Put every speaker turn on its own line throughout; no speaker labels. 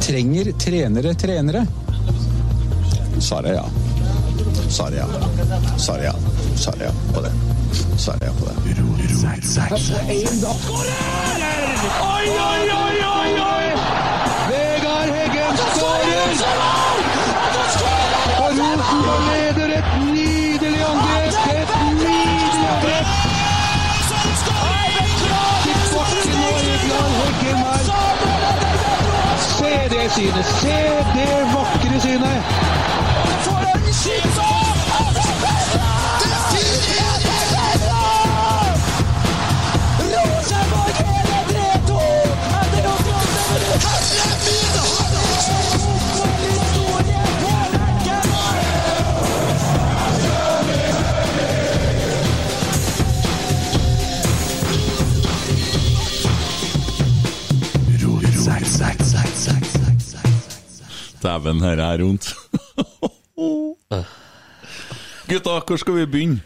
Trenger trenere trenere? Svaret er ja. Svaret er ja. Svaret er ja. Svaret er ja på det. Svaret er ja på det.
Oi, oi, oi, oi, oi! Vegard Heggen skårer! Og Rosenborg leder et nydelig angrep! Et nydelig angrep! Til Borten og Egeland Heggen her. Se det synet! Se det vakre synet!
Dæven, her er rundt. Gutta, hvor skal vi begynne?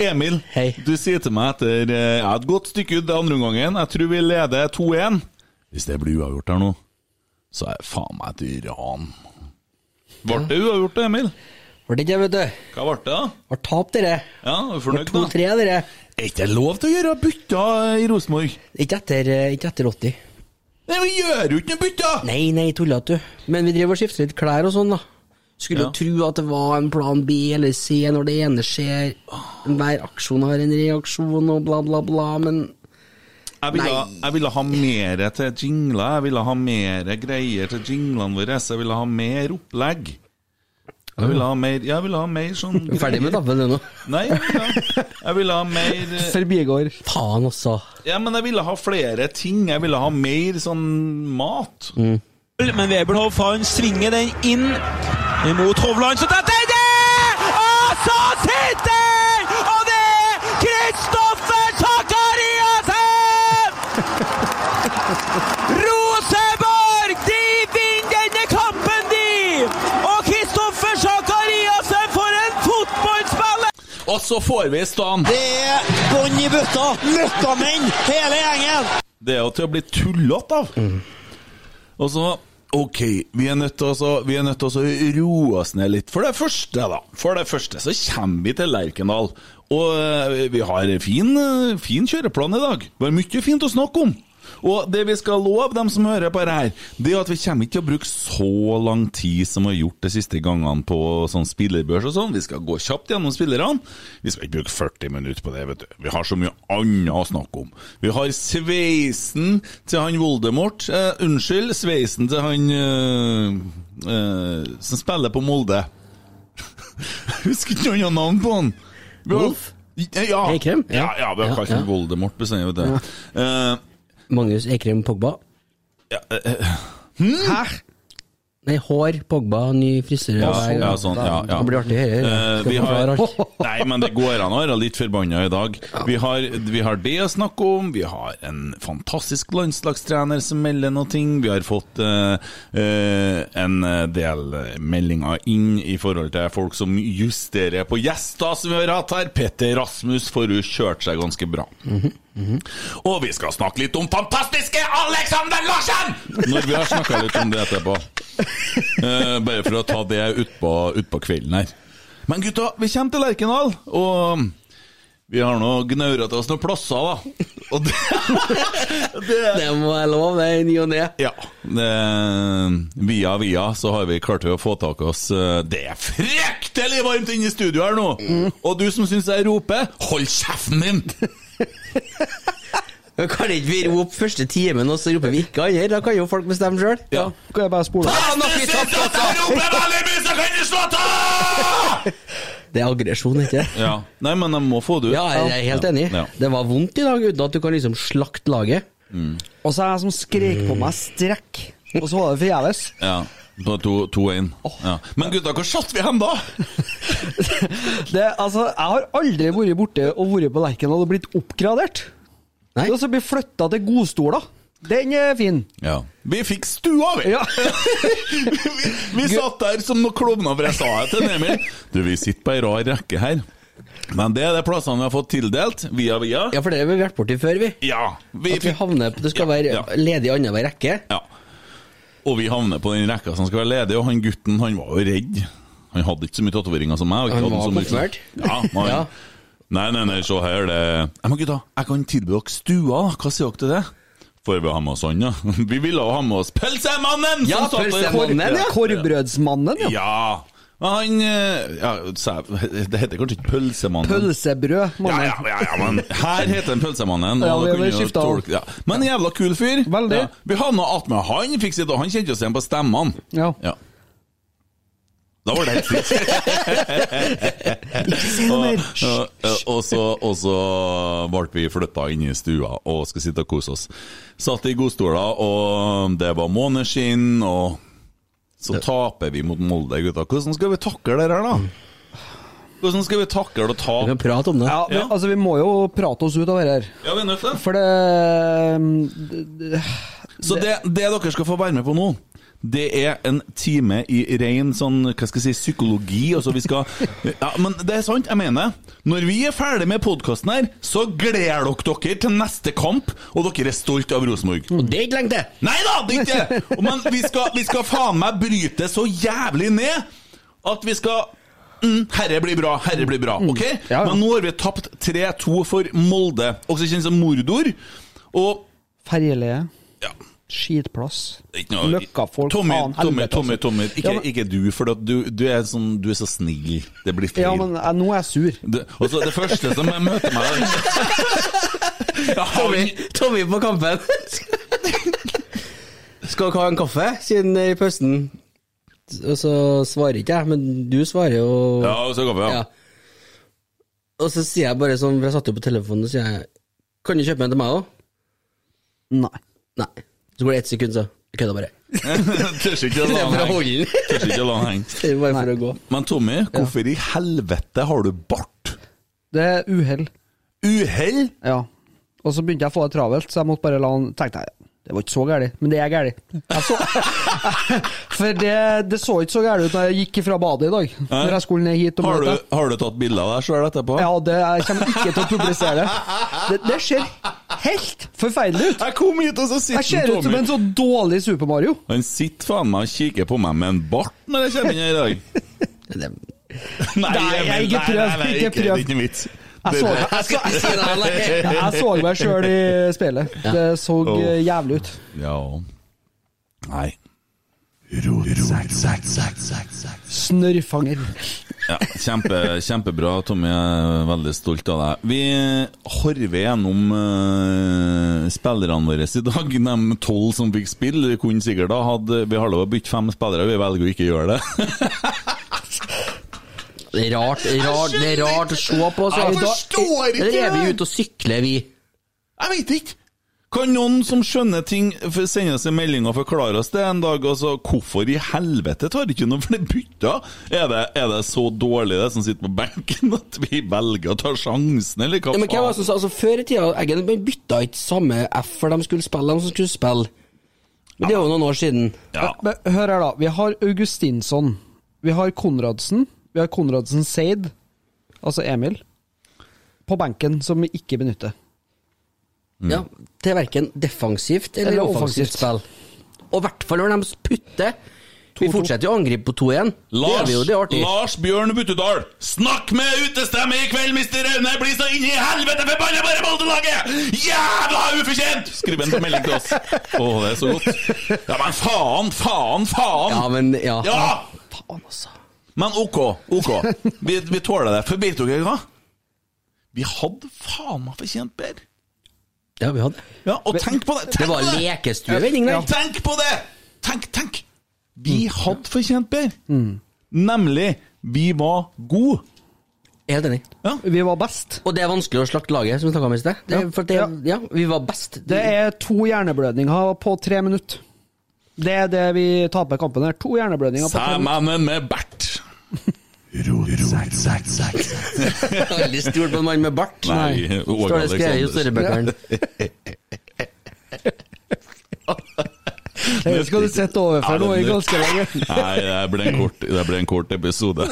Emil,
Hei.
du sier til meg etter eh, ja, et godt stykke ut det andre omgangen Jeg tror vi leder 2-1. Hvis det blir uavgjort her nå, så er det faen meg et ran. Ble det uavgjort, Emil?
Var det ikke, vet du?
Hva ble det, da?
Har tapt dere.
Ja, er du
Var
fornøyd, da?
2-3, dere.
Er ikke det lov til å gjøre bytter i Rosenborg?
Ikke etter, eh, ikke etter 80.
Nei, Vi gjør jo ikke noe bytter!
Nei, nei, tulla du. Men vi driver og skifter litt klær og sånn, da. Skulle
Ja.
jo tro at det var en plan B eller C når det ene skjer. Hver aksjon har en reaksjon og bla, bla, bla, men
Jeg ville,
Nei.
jeg ville ha mer til jingler, jeg ville ha mer greier til jinglene våre. Jeg ville ha mer opplegg. Jeg ville ha mer, jeg ville ha mer sånn
vi er ferdig med tabben ennå.
Nei, jeg ville ha- jeg ville ha mer eh,
Forbigård. Faen altså. også.
Ja, men jeg ville ha flere ting. Jeg ville ha mer sånn mat.
Men Weberhoff han svinger den inn mot Hovland, så detter det! Og så sitter den! Og det er Kristoffer Sakariassen! Rosenborg, de vinner denne kampen, de! Og Kristoffer Sakariassen, for en fotballspiller!
Og så får vi i stand!
Det er bånn i bøtta. Møkkamenn, hele gjengen.
Det er jo til å bli tullete av. Og så Ok, vi er nødt til å så- vi er nødt til å så roe oss ned litt. For det første, da. For det første så kommer vi til Lerkendal. Og eh, vi har fin, eh, fin kjøreplan i dag. Det var mye fint å snakke om. Og det vi skal love dem som hører på det her, det er at vi kommer ikke til å bruke så lang tid som vi har gjort de siste gangene på sånn spillerbørs og sånn. Vi skal gå kjapt gjennom spillerne. Vi skal ikke bruke 40 minutter på det, vet du. Vi har så mye annet å snakke om. Vi har sveisen til han Voldemort. Eh, unnskyld, sveisen til han eh, eh, som spiller på Molde. Husker ikke noe annet navn på han. Vi har-
Wolf?
Ja.
Eikrem?
Ja, ja, vi har
Ja,
kalt han
ja.
Voldemort bestandig, vet du. Eh,
Magnus Eikrem Pogba.
hm?
Hæ?
Nei, hår Pogba, ny frisyre.
Ja, sånn, ja, sånn, ja, ja.
Det blir artig å høre.
Eh,
Skal
vi har,
forklare alt.
nei, men det går an å være litt forbanna i dag. Vi har, vi har det å snakke om, vi har en fantastisk landslagstrener som melder noe. ting. Vi har fått eh, eh, en del meldinger inn i forhold til folk som justerer på gjester som vi har hatt her. Petter Rasmus får jo kjørt seg ganske bra. mhm. Og vi skal snakke litt om fantastiske Alexander Larsen! Når vi har snakka litt om det etterpå. Eh, bare for å ta det utpå ut på kvelden her. Men gutta, vi kommer til Lerkendal, og um, vi har nå gnaura til oss noen plasser, da. Og det, det
Det må jeg love, det er i ny og ne.
Ja. Det, via via så har vi klart å få tak i oss eh, Det er fryktelig varmt inne i studio her nå! Og du som syns jeg roper, hold kjeften din!
Men Kan ikke vi rope første timen, og så roper vi ikke andre? Da kan jo folk bestemme sjøl.
Ja.
Kan jeg bare spole?
Faen, at vi
Hvis du
tapte,
syns jeg
altså!
roper veldig mye, så kan du slå av!
Det er aggresjon, ikke det?
Ja. Nei, men jeg må få det ut.
Ja, jeg er helt enig.
Ja.
Det var vondt i dag, uten at du kan liksom slakte laget.
Og så er jeg som skrek på meg strekk. Og så var det forgjeves.
Ja. På 2-1. Ja. Men gutta, hvor satt vi hen da?
Det, altså, jeg har aldri vært borte og vært på Lerkendal og blitt oppgradert.
Nei.
Og så blir flytta til godstoler. Den er fin.
Ja. Vi fikk stua, vi!
Ja.
vi, vi satt der som noen klovner, for jeg sa det til Emil. Du, vi sitter på ei rar rekke her. Men det er de plassene vi har fått tildelt, via via.
Ja, for det har vi vært borti før, vi.
Ja. Vi
At vi
fikk
havner på Det skal
Ja,
være
ja.
ledig i annenhver rekke.
Ja. Og vi havner på den rekka som skal være ledig, og han gutten han var jo redd. Han hadde ikke så mye tatoveringer som meg. og ikke
Han
hadde
var
så mye-
konfirmert?
Ja, man,
Ja.
Nei, nei, nei, se her, det Ja, Men gutta, jeg kan tilby dere stua, da. Hva sier dere til det? Får vi ha med oss han, da? Vi ville ha med oss Pølsemannen!
Ja,
som satt der.
pølsemannen, ja. Korvbrødsmannen, ja.
Ja. Men han eh, ja, sa- Det heter kanskje ikke Pølsemannen?
Pølsebrød,
Ja,
mannen.
ja, ja, ja, men her heter den Pølsemannen.
Ja,
og
vi
da kunne
har
jo
skiftet av.
tolke- ja. Men en jævla kul fyr.
Veldig.
Ja. Vi havna attmed han, fikk sitt, og han kjente oss igjen på stemmene.
Ja.
Da var det helt fritt. Og- og- og så- Og så ble vi flytta inn i stua og skal sitte og kose oss. Satt i godstoler, og det var måneskinn, og så taper vi mot Molde, gutta. Hvordan skal vi takle det her, da? Hvordan skal vi takle å
Mm. Vi
tape?
kan prate om det.
Ja, men,
Ja.
altså, vi må jo prate oss ut av det her.
Ja, vi er nødt til det.
For mm, det
Så det, det dere skal få være med på nå, det er en time i ren sånn, hva skal jeg si, psykologi. Altså vi skal Ja, men det er sant, jeg mener. Når vi er ferdig med podkasten her, så gleder dere dere til neste kamp, og dere er stolt av Rosenborg.
Og det er ikke lenge til!
Nei da, det er ikke det! Men vi skal, vi skal faen meg bryte det så jævlig ned at vi skal mm, Herre blir bra, herre blir bra. ok?
Mm. ja.
Men nå har vi tapt 3-2 for Molde, også kjent som Mordor. Og
Ferjelie,
ja,
skitplass,
Ikke noe-
løkkafolk
Tommy,
faen,
Tommy,
helvete,
Tommy,
altså.
Tommy. Ikke,
Ja, men-
ikke du, for at du, du, er sånn, du er så snill. Det blir feil.
Ja, men eh, nå er jeg sur.
det, og så det første som jeg møter meg ja, han,
Tommy på kampen! Skal dere ha en kaffe siden i pausen? Og så svarer ikke jeg, men du svarer jo.
ja, så går vi, ja.
Ja. Og så sier jeg bare sånn, for jeg satt jo på telefonen, og sier jeg Kan du kjøpe en til meg òg?
Nei.
Nei. Så går det ett sekund, så jeg kødder bare.
Tør ikke å la
Det er for å
han
holde
henge.
den.
Tør ikke å la han henge.
Det er bare for å gå.
Men Tommy, hvorfor i helvete har du bart?
Det er uhell.
Uhell?
Ja. Og så begynte jeg å få det travelt, så jeg måtte bare la han Tenkte jeg, det var ikke så gærent, men det er gærent. Jeg så- For det, det så ikke så gærent ut da jeg gikk fra badet i dag, når jeg skulle ned hit og
Har,
møte.
du- har du tatt bilder av deg sjøl etterpå?
Ja, det, jeg kommer ikke til å publisere det. Det, det ser helt forferdelig ut.
Jeg kom hit, og så
Jeg
sitter
ser ut som
Tommy
en så dårlig Super Mario.
Han sitter faen meg og kikker på meg med en bart når jeg kommer inn her i dag. Nei,
Nei,
Emil,
ikke prøv, ikke
det er
prøv.
ikke noe vits.
Jeg så,
Det-
jeg, så, jeg,
Sier han, nei.
jeg så meg sjøl i speilet. Det så eh, jævlig ut.
Ja Nei.
Snørrfanger.
Ja, kjempe, kjempebra, Tommy. Jeg er veldig stolt av deg. Vi horver gjennom eh, spillerne våre i dag. De tolv som fikk spille, kunne sikkert da hatt Vi har lov å bytte fem spillere, vi velger å ikke gjøre det.
Det er rart, rart, det er rart å se på. Så
Jeg
Da-
forstår ikke
Eller er vi
det.
ute og sykler, vi?
Jeg vet ikke! Kan noen som skjønner ting, f- sende oss en melding og forklare oss det en dag? Altså, hvorfor i helvete tar ikke noen flere bytter? Er det, er det så dårlig, det som sitter på benken, at vi velger å ta sjansen, eller hva
Ja, men hvem var det som sa, altså Før i tida Eggen man bytta ikke samme F for de skulle spille, de som skulle spille. Men det er jo noen år siden.
Ja.
Men hør her, da. Vi har Augustinsson. Vi har Konradsen. Vi har Konradsen Seid, altså Emil, på benken, som vi ikke benytter.
Ja, Til verken defensivt eller,
Eller
offensivt spill. Og i hvert fall når de putter. Vi fortsetter jo å angripe på 2-1. Det er
Lars,
vi jo, det er artig.
Lars Bjørn Buttedal, snakk med utestemme i kveld, mister Raune! Bli så inn i helvete forbanna bare Molde-laget! Jævla ufortjent! Skriv en melding til oss. Å, det er så godt. Ja, men faen, faen, faen!
Ja, men ja.
Ja!
Faen, altså.
Men ok, ok. Vi, vi tåler det. For vet dere hva? Vi hadde faen meg fortjent bedre.
Ja, vi hadde
Ja, og tenk på det! Tenk
Det var
på det!
lekestuevending,
Ja,
det.
Tenk på det! Tenk, tenk! Vi
Mm.
hadde fortjent bedre. Nemlig, vi var gode.
Helt enig.
Vi var best.
Og det er vanskelig å slakte laget, som vi snakka om i sted. Det,
Ja.
for det,
Ja.
ja, vi var best.
Det er to hjerneblødninger på tre minutter. Det er det vi taper kampen her. To hjerneblødninger på tre minutter.
Sæmannen med bert.
Jeg har aldri stolt på en mann med bart.
Nei, Åge
Står det skrevet i
Aleksandersen.
storebøkene.
Det skal du sette overfor nå i ganske lenge.
Nei, det ble en kort, det ble en kort episode.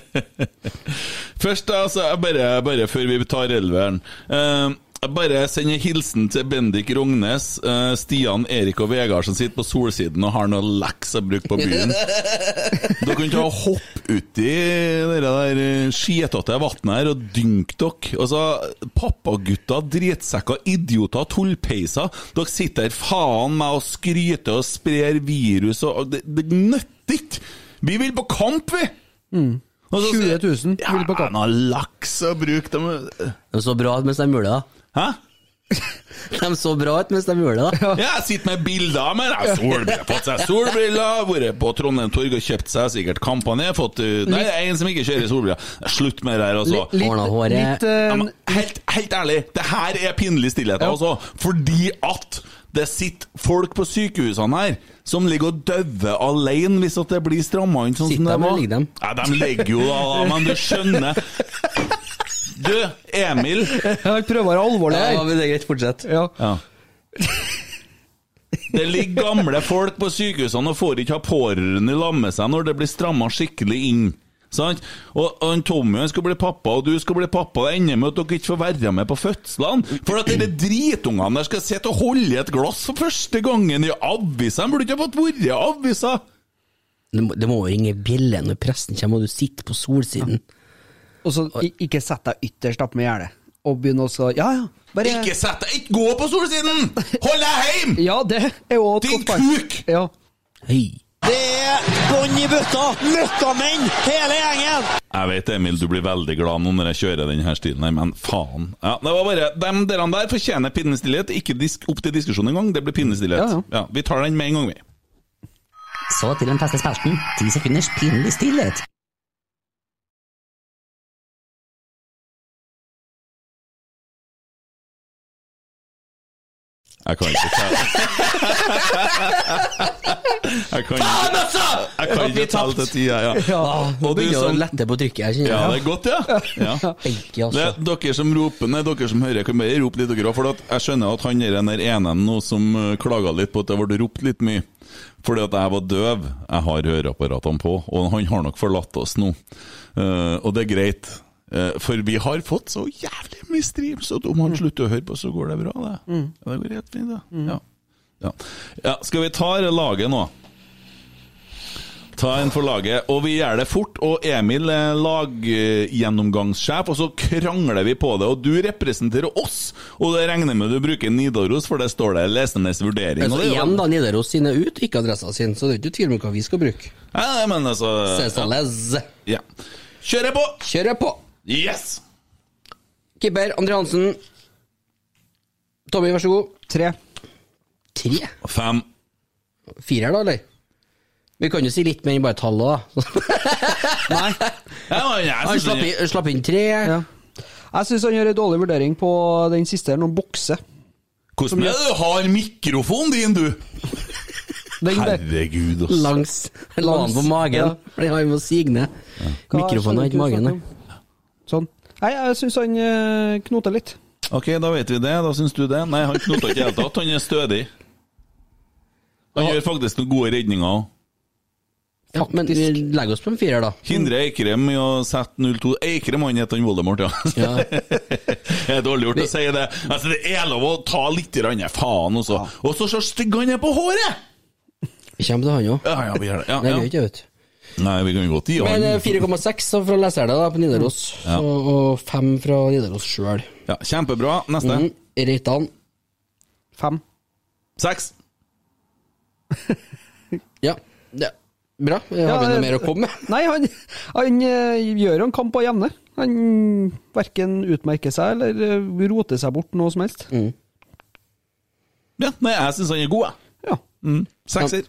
Først, altså, jeg bare, bare før vi tar elveren. Eh, Jeg bare sender hilsen til Bendik Rognes, eh, Stian, Erik og Vegard som sitter på solsiden og har noe leks å bruke på byen. Dere kan ta og hoppe uti det der eh, skitete vannet her og dynke dere. Altså, pappagutter, drittsekker, idioter, tullpeiser. Dere sitter her faen meg og skryter og sprer virus og og Det, det nytter ikke! Vi vil på kamp, vi!
20 000 Mm. vil på
Ja,
kamp.
noe laks å bruke dem eh.
De så bra ut mens de gjorde det.
Hæ?
da. De så bra ut mens de gjorde det. da.
Ja, jeg sitter med bilder med deg. Solbriller, fått seg solbriller, vært på Trondheim Torg og kjøpt seg sikkert kampanje. Fått, uh, nei, det er en som ikke kjører solbriller. Slutt med det her, altså.
Litt,
Ordna håret.
litt, eh,
Ja, men helt, helt ærlig, det her er pinlig stillhet, altså. Fordi at det sitter folk på sykehusene her som ligger og dauer alene hvis at det blir stramma inn sånn
Sitter
som det
de,
var.
eller ligger de?
Nei, de ligger jo da, men du skjønner. Du, Emil.
Jeg prøver å være alvorlig her.
Ja, men det er greit, fortsett.
Ja.
Ja. Det ligger gamle folk på sykehusene og får ikke ha pårørende lag med seg når det blir stramma skikkelig inn. Sant? Og, og han Tommy han skal bli pappa, og du skal bli pappa. Det ender med at dere ikke får være med på fødslene. For at dere dritungene der skal sitte og holde i et glass for første gangen i avisa. De burde ikke ha fått være i avisa!
Det må, det må jo ringe bjelle når presten kommer, og du sitter på solsiden.
Og så i- ikke sett deg ytterst opp med gjerdet, og begynn også Ja, ja, bare
Ikke sett deg, ikke gå på solsiden! Hold deg heim!
Ja, det er jo et
Din
godt poeng.
kuk!
Ja.
Hei.
Det er bånn i bøtta! Møkkamenn, hele gjengen!
Jeg vet, Emil, du blir veldig glad nå når jeg kjører denne stilen her, men faen. Ja, det var bare, De dere der fortjener pinnestillhet. Ikke disk, opp til diskusjon engang, det blir pinnestillhet.
Ja,
Ja,
ja.
vi tar den med en gang, vi.
Så til den faste spalten. Ti sekunders pinlig stillhet.
Jeg kan ikke telle Jeg kan ikke,
altså!
jeg kan ikke telle til tida, ja.
Nå
Ah, Og du sånn-
begynner det å
som
lette på trykket her,
Ja,
kjenner
det
jeg.
er godt, ja. ja.
Benke,
Det,
altså.
dere som roper, nei, dere som hører, kan bare rope litt, dere òg. For at jeg skjønner at han er den der ene nå som eh, klaga litt på at det ble ropt litt mye. Fordi at jeg var døv. Jeg har høreapparatene på, og han har nok forlatt oss nå. Eh, og det er greit. Eh, for vi har fått så jævlig mye streams, at om han slutter å høre på, så går det bra, det. Ja, det går helt fint, det. Ja. Ja. ja. Skal vi ta det laget nå? Ta en for laget, og vi gjør det fort. Og Emil er laggjennomgangssjef, og så krangler vi på det. Og du representerer oss, og det regner med du bruker Nidaros, for det står det Lesenes vurdering.
Altså,
og det er jo-
igjen, da. Nidaros sin er ut, ikke adressa sin, så det er ikke tvil om hva vi skal bruke.
Ja, nei, men altså
Cesales.
ja. Kjører på!
Kjører på.
Yes!
Keeper Andre Hansen. Tommy, vær så god.
Tre.
Tre?
Fem.
Firer, da, eller? Vi kan jo si litt mer enn bare tallet, da.
Ja, men jeg
Han
synes
slapp,
den-
inn- slapp inn tre.
Ja. Jeg syns han gjør en dårlig vurdering på den siste, her, når han bokser.
Hvordan er det du har mikrofonen din, du?
Den der.
Herregud, altså. ass.
Langs. La han på magen.
Ja.
Fordi han må signe.
Hva
Mikrofonen er
skjønner
ikke
du
magen.
snakker om? Sånn. Nei, jeg syns han eh, knoter litt.
Ok, da vet vi det. Da syns du det. Nei, han knota ikke i det hele tatt. Han er stødig. Han gjør faktisk noen gode redninger òg.
da. Ja, men vi legger oss på en firer, da.
Hindre Eikrem i å sette 0-2 Eikrem han heter han Voldemort, ja. det er dårlig gjort å si det. Altså, det er lov å ta litt grann, faen også. Og så så stygg han er på håret!
Vi kommer til han òg.
Ja, ja, vi gjør det.
Det
Ja,
gjør
ja.
ikke jeg, vet du.
Nei, vi kan godt gi
Men eh,
han.
4,6 så fra leserne da, på Nidaros,
Mm.
og, og 5 fra Nidaros sjøl.
Ja, kjempebra. Neste.
Mm. Reitan.
Fem.
Seks.
Ja. ja. Bra. Har
Ja,
vi noe
eh,
mer å komme med?
Nei, han, han eh, gjør jo en kamp på jevne. Han verken utmerker seg eller eh, roter seg bort noe som
Mm.
helst.
Ja, nei, jeg syns han er god, jeg.
Ja.
Mm. Sekser.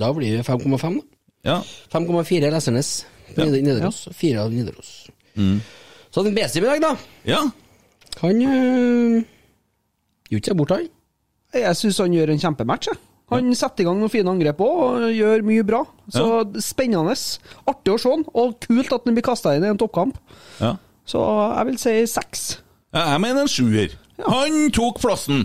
Da blir det 5,5. da.
Ja.
5,4 Lesernes på Nid- Nidaros. 4 av Nidaros.
Mm.
Så den Besim i dag, da.
ja.
Han øh, gjorde ikke seg bort, han.
Jeg syns han gjør en kjempematch. Jeg. Han setter i gang noen fine angrep òg, og gjør mye bra. Så spennende. Artig å se han, og kult at han blir kasta inn i en toppkamp.
ja.
Så jeg vil si seks.
Ja, Jeg mener en sjuer. Han tok plassen.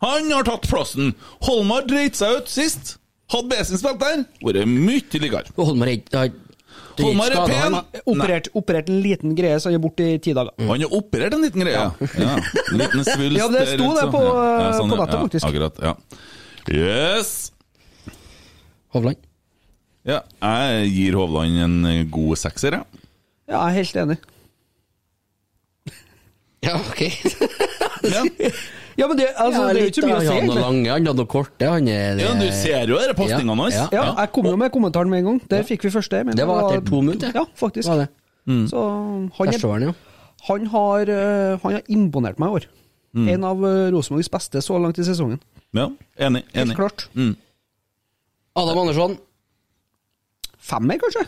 Han har tatt plassen. Holmar dreit seg ut sist. Hadde Besin spilt der, vært mye likere.
Og Holmar er ikke- har Det gikk
Holmar er
skadet,
pen!
han,
Operert, operert en liten greie, så han er borte i ti dager.
Nei, Han har operert en liten greie. Ja. en Liten svulst.
Mm. Ja, det sto
der,
det på, eh, på nettet,
ja,
faktisk.
Akkurat, ja. Yes!
Hovland.
Ja, jeg gir Hovland en eh, god sekser, jeg.
Ja, jeg er helt enig.
Ja, ok.
Ja.
Ja, men det, altså, det er jo ikke så mye å
Han
si,
hadde
egentlig.
noe lange, han hadde noe korte. Han er
ja, du ser jo dere postingene hans.
Ja,
Eh, Ja, jeg kom jo med kommentaren med en gang. Der fikk vi første. Men
Det var etter to minutter.
Ja, faktisk.
Var det. Mm.
Så han,
Første
er,
åren, ja.
han, har, eh, han har imponert meg i år.
Mm.
En av eh, Rosenborgs beste så langt i sesongen.
Ja, Enig.
Helt
enig.
klart.
Adam Andersson.
Femmer, kanskje?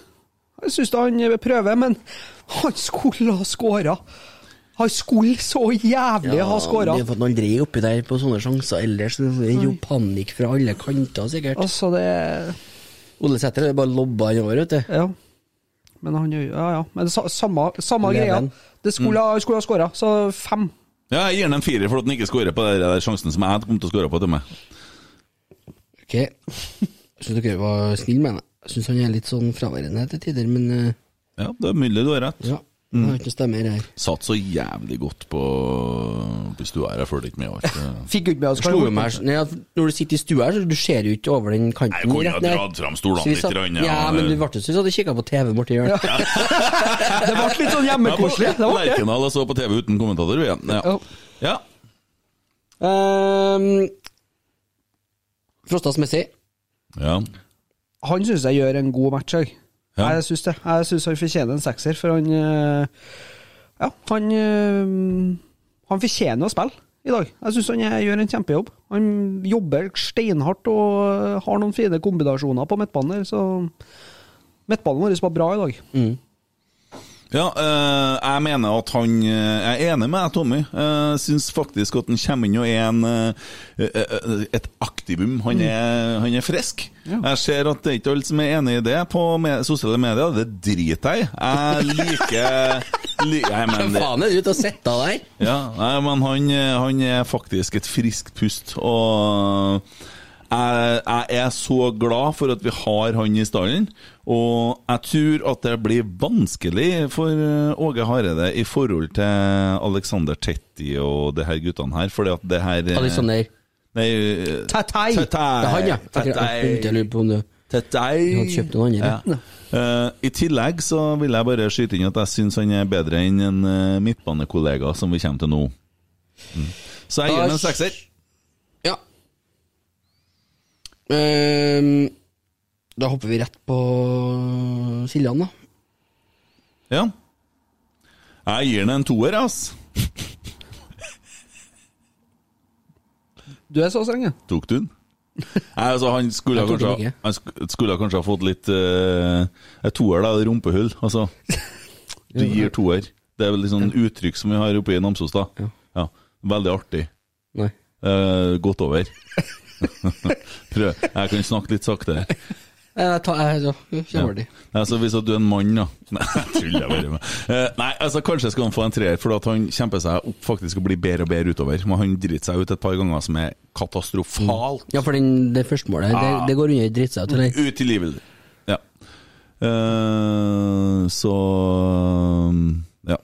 Jeg syns han prøver, men han skulle ha skåra. Han skulle så jævlig ha skåra.
Vi har fått aldri oppi der på sånne sjanser ellers. Det er jo panikk fra alle kanter, sikkert.
Altså, det
Ole Sæter det er bare lobba han over, vet du.
Ja. Men han gjør Ja, ja. Men det sa- samme, samme greia.
Leven.
Det skulle, ha- skulle ha skåra, så fem.
Ja, jeg gir den en firer for at den ikke skårer på den der sjansen som jeg kom til å skåre på til meg.
Ok. Jeg syns dere var snille med henne. Jeg syns han er litt sånn fraværende til tider, men eh,
Ja, det er mulig du har rett.
ja. Han har ikke stemmer her.
Satt så jævlig godt på på stua her, jeg følte ikke med alt.
Fikk jo ikke med oss
Slo jo meg her- Nei, at Når du sitter i stua her, så du ser jo ikke over den kanten.
Jeg kunne
rett
ha
ned.
dratt fram stolene
Så vi
litt
satt-
grann, ja.
Ja, men du ble jo sånn at du kikka på TV borti hjørnet.
Det ble litt sånn hjemmekoselig. Det ble det.
Lerkendal og så på TV uten kommentator, vi. Ja.
Ja.
ja.
Ehm, Frostas Messi.
ja.
Han syns jeg gjør en god match òg.
Ja.
Jeg syns det. Jeg syns han fortjener en sekser, for han eh, Ja, han eh, Han fortjener å spille i dag. Jeg syns han eh, gjør en kjempejobb. Han jobber steinhardt og eh, har noen fine kombinasjoner på midtbanen, her, så Midtbanen vår var bra i dag.
Mm. Ja, eh, jeg mener at han eh, Jeg er enig med deg, Tommy. Jeg syns faktisk at han kommer inn og er en, eh, eh, et aktivum. Han
Mm.
er, han er frisk. Jeg ser at det er ikke alle som er enig i det på me sosiale medier. Det driter jeg i. Jeg liker li Nei, men
Hvem
det,
faen er du ute og sitter der?
ja, nei, men han, eh, han er faktisk et friskt pust. Og jeg, jeg er så glad for at vi har han i stallen. Og jeg tror at det blir vanskelig for eh, Åge Hareide i forhold til Alexander Tetti og det her guttene her, fordi at det her eh,
Alexander.
Nei, eh,
Tatei!
Det er han, ja. Akkurat, Jeg begynte å
Tetti.
lure på om du
Tettei.
hadde kjøpt noen andre.
Ja. Eh, I tillegg så vil jeg bare skyte inn at jeg syns han er bedre enn en eh, midtbanekollega som vi kommer til nå. Mm. Så jeg gir ham en sekser.
Ja. Ehm, da hopper vi rett på Siljan, da.
Ja. Jeg gir ham en toer, ass.
Du er så streng, ja.
Tok du den? Nei, altså, han skulle,
Jeg tok den
kanskje,
ikke.
han sk- skulle kanskje ha fått litt uh, Et toer, da. Rumpehull, altså. Du gir toer. Det er vel litt sånn uttrykk som vi har oppe i Namsos, da. Ja. Veldig artig.
Nei.
Eh, gått over. Prøv. Jeg kan snakke litt sakte her.
Jeg tar jeg, så, kommer de.
Altså, hvis at du er en mann, da. Nei, jeg tuller bare med Eh, Nei, altså, kanskje skal han få en treer, for at han kjemper seg opp faktisk og blir bedre og bedre utover. Men han driter seg ut et par ganger som er katastrofalt
Ja, for den, det første målet, det,
Ah.
det går under drittsaut, eller?
ut i livet. Ja. Eh, så ja.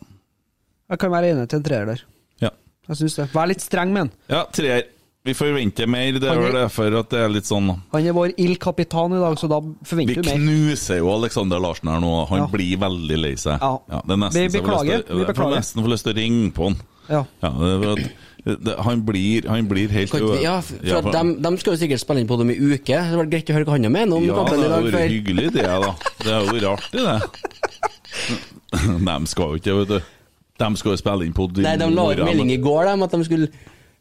Jeg kan være enig til en treer der.
ja.
Jeg syns det. Vær litt streng med han.
Ja, treer. Vi forventer mer. Det er vel derfor at det er litt sånn
Han er vår Il Capitan i dag, så da
Vi
forventer vi mer.
knuser jo Alexander Larsen her nå. Han
Ja.
blir veldig lei seg.
Ja.
det er nesten så
Vi
jeg får lyst
beklager.
til-
Vi
Jeg får
beklager.
nesten få lyst til å ringe på han.
Ja.
Ja, det, er for at- det, han, blir, han blir helt
Kan ikke vi- Ja, for at dem, dem skal jo sikkert spille inn på dem i uke. Det hadde vært greit å høre hva han mener om
ja,
kampen
det
i
har
dag.
vært
For
hyggelig, det, da. Det har vært artig, det. De skal jo ikke, vet du. De skal jo spille inn på
Nei, de la ut melding i går dem, at de skulle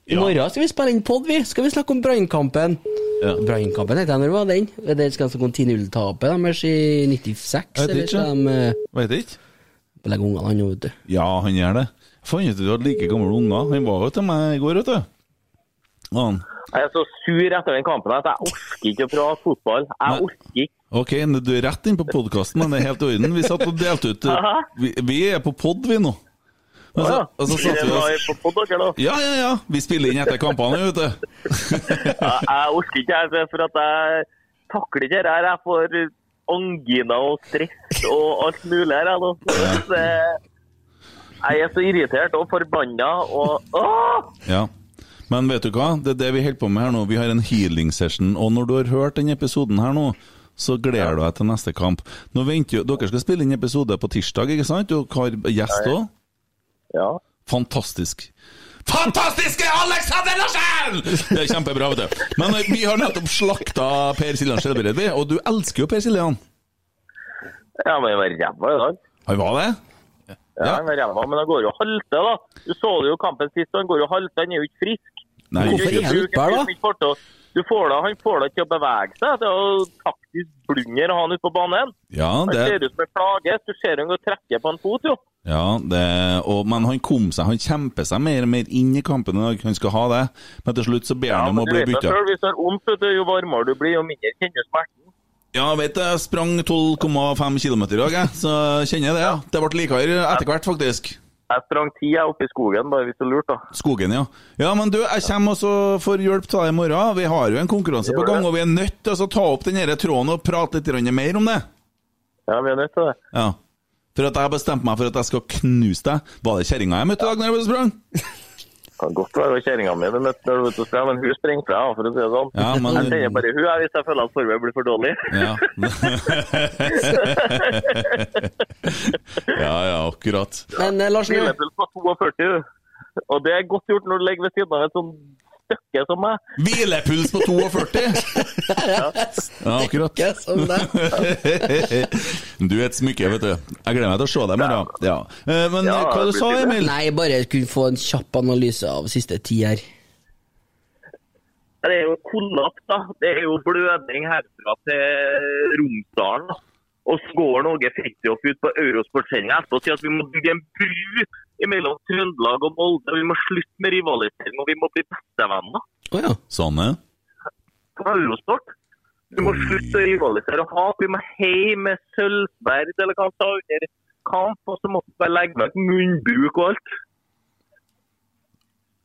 I
Ja.
morgen skal vi spille inn pod, vi. Skal vi snakke om Brannkampen.
Ja.
Brannkampen heter den, eller hva var den? Det skal snakke om 10-0-tapet deres i 96,
Jeg vet
eller
ikke.
skal de eh,
Vet ikke.
belegge ungene han nå, vet du.
Ja, han gjør det. Jeg Fant ut at du hadde like gamle unger. Han var jo til meg i går, vet du. Han.
Jeg er så sur etter den kampen at jeg orker ikke å prate fotball.
Nei.
Jeg orker ikke.
Ok, men du er rett inn på podkasten, men det er helt i orden. Vi satt og delte ut eh, Vi, vi er på pod, vi nå. Og så,
altså.
og så satt vi
Dere
oss
var på podd, dere, da.
Ja, ja, ja. Vi spiller inn etter kampene, vet du.
Jeg- Jeg orker ikke, jeg, for at jeg takler ikke dette. her. Jeg får angina og stress alt og alt mulig her. jeg, nå. Så det- Jeg er så irritert og forbanna og Åh!
Ja. Men vet du hva? Det er det vi holder på med her nå. Vi har en healing session. Og når du har hørt den episoden her nå, så gleder du deg til neste kamp. Nå venter jo, Dere skal spille inn episode på tirsdag, ikke sant? Og har gjest òg.
Ja.
Fantastisk. Fantastiske Alexander Larsen! Det er kjempebra, vet du. Men eh, vi har nettopp slakta Per Siljan Skjelbred, vi. Og du elsker jo Per Siljan.
ja, men jeg var ræva i dag.
Han var det?
Ja,
Ja.
jeg var ræva, Men han går jo halte, da. Du så det jo kampen sist, han går jo halte. Han er jo ikke frisk.
Nei.
Du
Hvorfor er han
bruker-
ikke der, da?
bruker ikke fart til å- Du får da, han får deg til å bevege seg. Det er jo taktisk blunder å ha han ute på banen.
Ja,
Han
det
ser ut som en plage. Du ser han går og trekker på en fot, jo.
Ja, det, og, men han kom seg, han kjemper seg mer og mer inn i kampen i dag. Han skal ha det, men til slutt så ber han om å
men du
bli
vet deg
bytta.
selv, Hvis det er vondt, vet du, jo varmere du blir, jo mindre kjenner du smerten.
Ja, vet du, jeg sprang 12,5 km i dag, jeg, så kjenner jeg det. ja. Det ble likere etter hvert, faktisk.
Jeg sprang ti jeg oppe i skogen, bare hvis du lurte. da.
Skogen, ja. Ja, men du, jeg kommer og så får hjelp til deg i morgen. Vi har jo en konkurranse på
Gjør det.
gang, og vi er nødt til altså, å så ta opp den her tråden og prate litt grann mer om det.
Ja, vi er nødt til det.
Ja. For at jeg har bestemt meg for at jeg skal knuse deg. Var det kjerringa jeg møtte i dag når jeg var ute og sprang?
Kan godt være det var kjerringa mi du møtte når du var ute og sprang, men hun springer fra, for å si det sånn.
Ja, men-
Jeg kjenner bare hun jeg, hvis jeg føler at formen blir for dårlig.
Ja. ja, ja, akkurat.
Men eh, Larsen,
Lillepuls var 42, og det er godt gjort når du ligger ved siden av et sånn støkke som meg.
Hvilepuls på 42! Ja, akkurat.
ikke som deg.
Du er et smykke, vet du. Jeg gleder meg til å se deg i morgen. Ja. Eh, Men
Ja,
hva du
det
sa
blir
Emil?
Nei, bare kunne få en kjapp analyse av siste ti her.
Det er jo kollaps, da. Det er jo blødning herfra til Romsdalen. da. Og så går Norge Fridtjof ut på Eurosportsendinga etterpå og sier at vi må bygge en bru mellom Trøndelag og Molde. Vi må slutte med rivalisering, og vi må bli bestevenner.
Å ja.
Sanne?
på Eurosport. Du må slutte å rivalisere og hat. Vi må heie med sølvsverd eller hva han sa under kamp. Og så måtte vi bare legge vekk munnbruk og alt.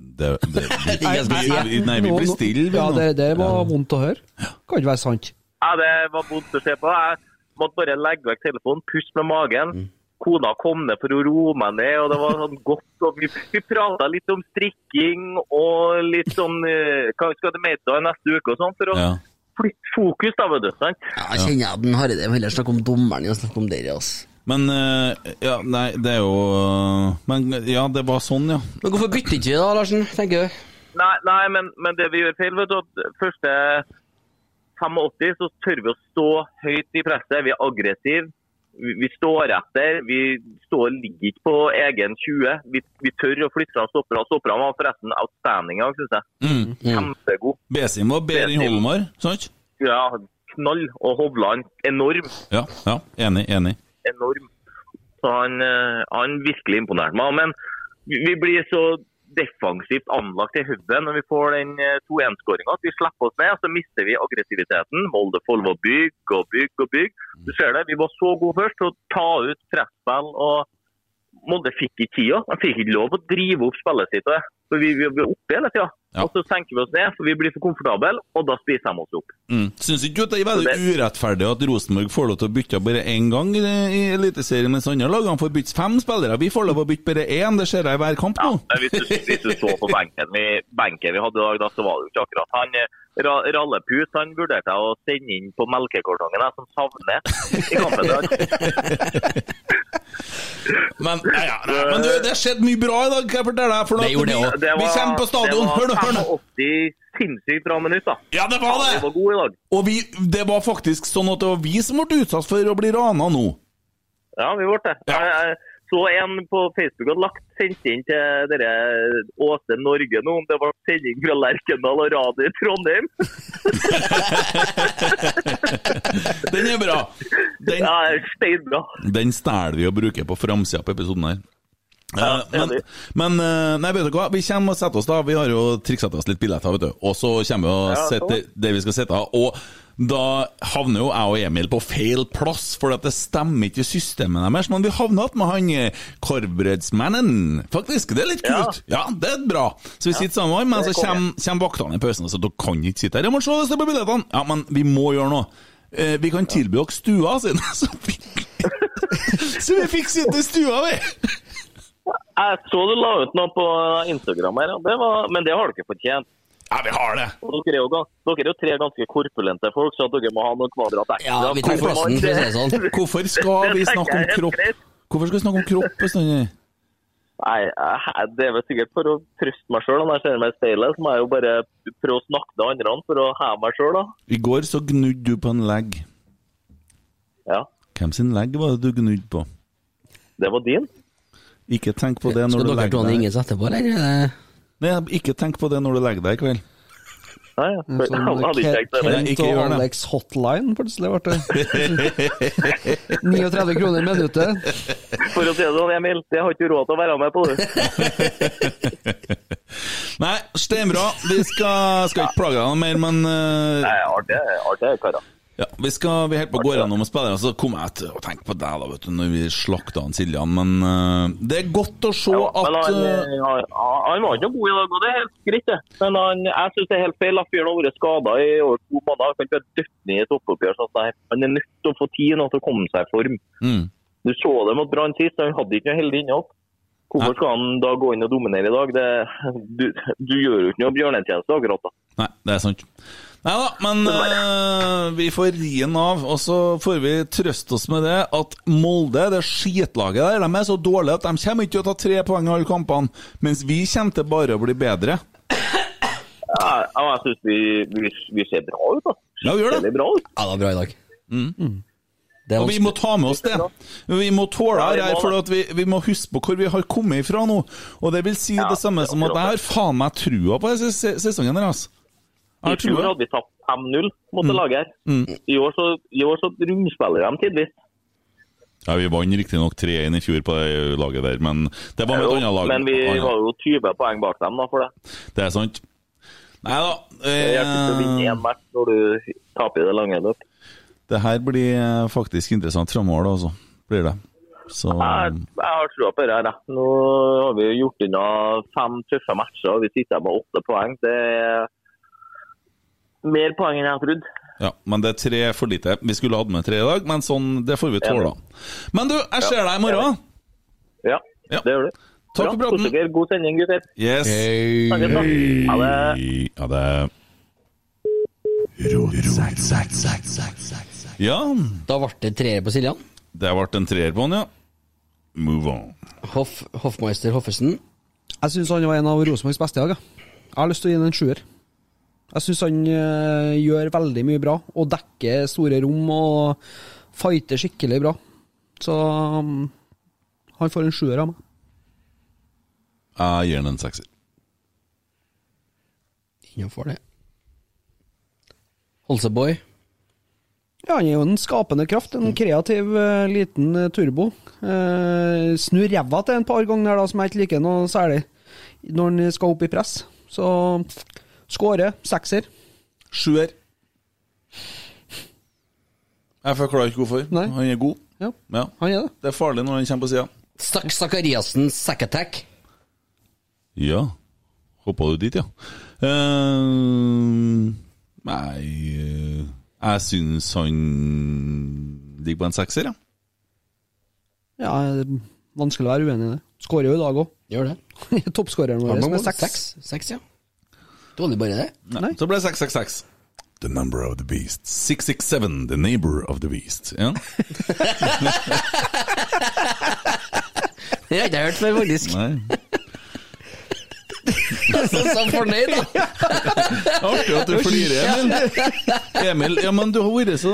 Det, det, vi,
Ingen som sier
vi, nei, vi blir stille, vi
Ja,
nå.
det, det var vondt å høre. Kan ikke være sant.
Ja, det var vondt å se på. Jeg måtte bare legge vekk telefonen, puste med magen. Kona kom ned for å roe meg ned, og det var sånn godt. Og vi vi prata litt om strikking og litt sånn eh, Hva skal du mete av neste uke og sånn, for å
Ja.
flytte fokus, da, vet du. sant?
ja kjenner jeg den Harride vil heller snakke om dommeren enn å snakke om dere, altså.
Men eh, Ja, nei, det er jo eh, Men ja, det var sånn, ja.
Men hvorfor bytter ikke vi da, Larsen? tenker du?
Nei, nei men, men det vi gjør feil, vet du, at første 85 så tør vi å stå høyt i presset. Vi er aggressive. Vi, vi står etter. Vi står, ligger ikke på egen 20. Vi, vi tør å flytte fram stopperne. Stopperne var forresten outstanding i dag, syns jeg.
Mm.
Kjempegod.
Besim var bedre enn
Besim.
Holmar, sant?
Ja, knall. Og Hovland enorm.
Ja, ja. Enig, enig.
enorm. Så han, eh, han virkelig imponerte meg. Men vi vi blir så defensivt anlagt i hodet når vi får den 2-1-skåringa at vi slipper oss ned, og så mister vi aggressiviteten. Molde Follo bygger og bygger og bygger. Du ser det, vi var så gode først til å ta ut presspill, og Molde fikk ikke tida. De fikk ikke lov å drive opp spillet sitt. og det. For vi, vi, vi er oppe hele tida.
Ja.
Og så senker vi oss ned, for vi blir for komfortable, og da spiser de oss opp.
Mm. Syns ikke du at det er veldig urettferdig at Rosenborg får lov til å bytte bare én gang i, i Eliteserien, mens andre lagene får bytte fem spillere? Vi får lov å bytte bare én, det ser jeg i hver kamp nå.
Men hvis du, hvis du så på benken vi, benken vi hadde i dag, da, så var det jo ikke akkurat han. eh, Ra Rallepus han vurderte jeg å sende inn på melkekartongen, jeg som savner i kampen i dag.
Men, ja, ja, nei, men du, det skjedde mye bra i dag, kan jeg fortelle deg. For
Det gjorde det også.
Det
Vi
var-
kommer på stadion. Hør nå, hør
Det
nå.
var 85 sinnssykt bra minutt, da.
Ja, det var
Det
det!
var god i dag.
Og vi, det var faktisk sånn at det var vi som ble utsatt for å bli rana nå.
Ja, vi ble det.
Ja.
Jeg, jeg så en på Facebook hadde lagt sendt inn til dere Åse Norge nå, om det var sending fra Lerkendal og radio i Trondheim.
Den er bra. Den,
Ja, steinbra.
den stjeler vi og bruker på framsida på episoden her.
Ja,
Eh, men,
enig.
men eh, nei, vet du hva? vi kommer og setter oss da. Vi har jo triksa til oss litt billetter, vet du. Og så kommer vi og
Ja,
setter det vi skal sitte av. Og da havner jo jeg og Emil på feil plass, for at det stemmer ikke i systemet deres. Men vi havner igjen med han eh, korvbrødsmannen, faktisk. Det er litt
Ja.
kult. Ja, det er bra. Så vi sitter sammen, men så
det er konge.
kommer, kommer vaktene i pausen og sier dere kan ikke sitte her. Jeg må se hvis det på billettene. Ja, men vi må gjøre noe. Eh, Vi kan tilby dere stua, sier han. Så vi- Så vi fikk sitte i stua, vi!
Jeg så du la ut noe på Instagram her, og det var, men det har dere fortjent.
Ja, vi har det.
Og Dere er, jo, gans- dere er jo tre ganske korpulente folk, så at dere må ha noen kvadrat ekstra.
Ja, vi tar plassen, for å si det sånn.
Hvorfor skal vi
Det tenker
snakke om
jeg er
kropp?
greit.
Hvorfor skal vi snakke om kropp bestandig?
Nei, jeg- det er vel sikkert for å trøste meg sjøl. Når jeg ser meg i speilet, så må jeg jo bare prøve å snakke til andre for å heve meg sjøl, da.
I går så gnudde du på en legg.
Ja,
Hvem sin legg var det du gnudde på?
det var din.
Ikke tenk på det når
Skal
du
dere to
legger deg.
ringes etterpå, eller? Er det-
Nei, ikke tenk på det når du legger deg i kveld.
Nei, jeg hadde ikke tenkt det.
Nei,
Kent
ikke
sånn og
gjør det.
Alex Hotline, plutselig ble det. 39 kroner minuttet.
For å si det sånn, Emil, det har ikke du råd til å være med på, du.
Nei, steinbra. Vi skal, skal ikke plage deg noe mer, men eh,
Nei, artig, artig, karer.
ja, vi, skal, vi helt på går gjennom og spiller, så kommer jeg til å tenke på deg da, vet du, når vi slakta han Siljan. Men eh, det er godt å se
Ja, men
at
han,
eh,
han, han var ikke noe god i dag, og det er helt greit, det. Men han, jeg syns det er helt feil at fyren har vært skada i over to måneder. Han kan ikke være dødt ned i et oppoppgjør. sånn at nei, Han er nødt til å få tid nå til å komme seg i form.
mm,
Du så det mot Brann sist, han hadde ikke noe heldig innhopp. Hvorfor skal han da gå inn og dominere i dag? Det, du, du gjør jo ikke noe bjørnetjeneste akkurat da.
Nei, det er sant. Nei da, men eh, vi får ri den av, og så får vi trøste oss med det at Molde, det skitlaget der, de er så dårlige at de kommer ikke til å ta tre poeng i alle kampene, mens vi kommer til bare å bli bedre.
Ja, ja, jeg syns vi, vi, vi ser bra ut, da.
Ja, vi gjør det.
Veldig bra ut.
Ja, det var bra i dag. Det er
Mm. Og vi må ta med oss det. Vi må tåle
Ja, vi
det
må
her,
det.
for at vi, vi må huske på hvor vi har kommet ifra nå. Og det vil si det samme
det er
som at jeg har faen meg trua på denne se- sesongen her, altså. Jeg
I
har
fjor
trua.
hadde vi tapt 5-0 mot
Mm.
det laget her. I år så, i år så rundspiller de tidvis.
Ja, vi vant riktignok 3-1 i fjor på det laget der, men det var med et
Jo,
annet lag.
Men vi
Annet.
var jo 20 poeng bak dem da, for det.
Det er sant. Nei da.
Det hjelper ikke å vinne
Eh,
én match når du taper i det lange løp.
det her blir eh, faktisk interessant framover, da, altså. Blir det. Så
Jeg, jeg har trua på det her. jeg. Nå har vi jo gjort unna fem tøffe matcher, og vi sitter med åtte poeng. Det er mer poeng enn jeg trodde.
Ja, men det er tre for lite. Vi skulle hatt med tre i dag, men sånn, det får vi tåle. da. Men du, jeg ser deg i morgen.
Ja,
Ja.
det gjør du.
Takk for
Bra.
praten.
Kos dere. God sending, gutter.
Yes.
Snakkes, da. Ha det.
Ja, det Ja,
Da ble det treer på Siljan.
det ble en treer på han, ja. Move on.
Hoff, Hoffmeister Hoffesen.
Jeg syns han var en av Rosenborgs beste i dag. ja. Jeg har lyst til å gi ham en sjuer. Jeg syns han eh, gjør veldig mye bra, og dekker store rom og fighter skikkelig bra. Så mm, han får en sjuer av meg.
Jeg gir den en sekser.
Innenfor det. Holseboy.
Ja, han er jo en skapende kraft. En kreativ, eh, liten eh, turbo. Eh, snur ræva til en par ganger da, som jeg ikke liker noe særlig, når han skal opp i press. Så skårer. Sekser.
Sjuer. Jeg forklarer ikke hvorfor.
Nei.
Han er god.
Ja,
Ja.
han er det.
Det er farlig når han kommer på sida.
Stakk Sakariassen sack attack.
Ja. Hoppa du dit, ja? Eh, nei eh, Jeg syns han ligger på en sekser, ja.
Ja, det er vanskelig å være uenig i det. Skårer jo i dag òg.
Gjør det.
Toppskåreren vår med seks.
Seks, seks ja. Dårlig bare det.
Nei. Så ble det 666. The number of the beast. 667, the neighbor of the beast. Ja.
Det har jeg ikke hørt før, faktisk.
Nei.
Så, så fornøyd, da.
Artig at du flirer, Emil. Emil, ja, men du har vært så,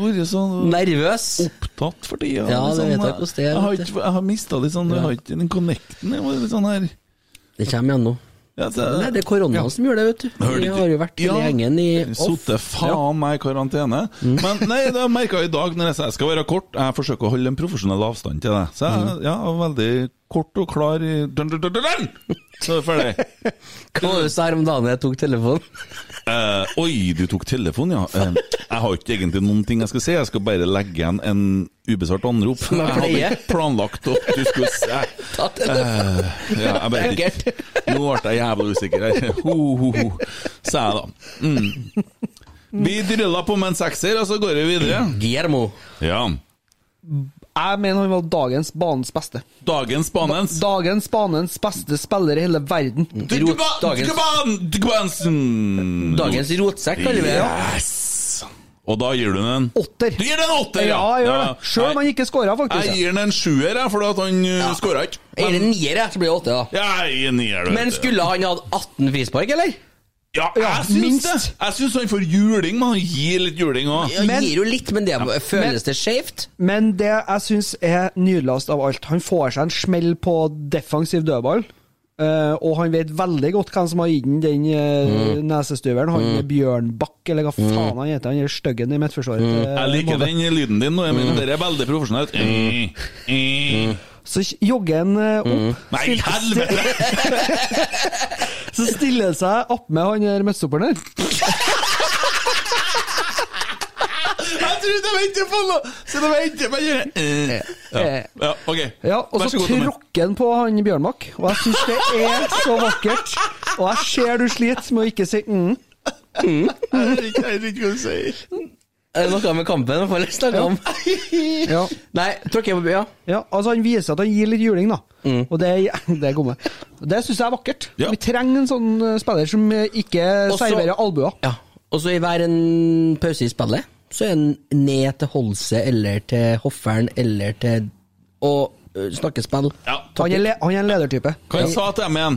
vært så
Nervøs.
opptatt for tida.
Ja, det vet jeg hvordan det er,
Jeg har,
vet du.
ikke, jeg har mista litt sånn Jeg har ikke den connecten. Jeg var litt sånn her
Det kommer igjen nå.
ja, så,
Nei, det er korona som gjør det, vet du.
Hører du
Vi
ikke?
har jo vært hele
Ja.
gjengen i off. Mm.
Sotte faen meg i karantene. Men nei, det merka jeg i dag når jeg sa jeg skal være kort. Jeg forsøker å holde en profesjonell avstand til deg. Så jeg
Mm.
ja, jeg var veldig kort og klar i dun, dun, dun, dun, dun! Så er vi ferdig.
Hva var det du sa her om dagen jeg tok telefonen?
Eh, oi, du tok telefonen, ja. Eh, jeg har ikke egentlig noen ting jeg skal si. Jeg skal bare legge igjen en ubesvart anrop.
Som jeg pleier.
hadde ikke planlagt at du skulle si
Ta telefonen.
Eh, ja, jeg vet ikke. Nå ble jeg jævlig usikker her. Ho, ho, ho. Sa jeg da. Mm. Vi drylla på med en sekser, og så går vi videre.
Guillermo.
Ja.
Jeg mener han var dagens banens beste.
Dagens banens.
Dagens banens beste spiller i hele verden.
Dugba-
dagens-
Dugban- Dugbansen.
Dagens rotsekk, kaller vi det.
Yes! Og da gir du den en
Åtter.
Du gir den en åtter,
Ja, jeg gjør det. Sjøl om
Nei,
han ikke skåra,
Jeg
faktisk.
gir den en sjuer, jeg, for at han uh, skåra ikke.
Jeg gir det en nier, jeg, så blir det åtte, da.
Ja, jeg gir en nier, du vet
Men
det.
skulle han hatt 18 frispark, eller?
Ja, jeg syns
minst.
det. Jeg syns han får juling, men han gir litt juling òg.
Han
Men-
gir jo litt, men det føles det skjevt?
Men det jeg syns er nydeligst av alt, han får seg en smell på defensiv dødball. eh, og han vet veldig godt hvem som har gitt ham den eh, nesestyveren. Han er Bjørnbakk, eller hva faen han heter. Han er styggen i midtforsvaret. Eh, til
Jeg liker
Molde.
den lyden din nå, Emil. Dere er veldig profesjonelt. Mm. Mm.
Så jogger han eh, opp.
Nei,
stiller-
helvete!
Så stiller han seg opp med han der midtstopperen der.
Jeg trodde jeg ventet på noe! Så det var ikke bare eh. ja. ja, OK.
Ja, og
Vær
så
god, Emil.
tråkker han på han Bjørnbakk, og jeg syns det er så vakkert. Og jeg ser du sliter med å ikke si mm.
Jeg vet ikke- jeg vet ikke hva du sier.
Er det noe med kampen? Hva jeg snakke om?
Ja.
Nei, tråkker jeg på bya?
ja, altså han viser at han gir litt juling, da.
Mm.
Og det, det er kommet. Og Det syns jeg er vakkert.
Ja.
Vi trenger en sånn eh, spiller som eh, ikke
Og så-
serverer albuer.
Ja. Og så i hver en pause i spillet, så er den ned til Holse eller til Hoffern eller til Og øh, snakke spill.
Ja.
Han er, le han er en ledertype.
Hva jeg sa til dem igjen?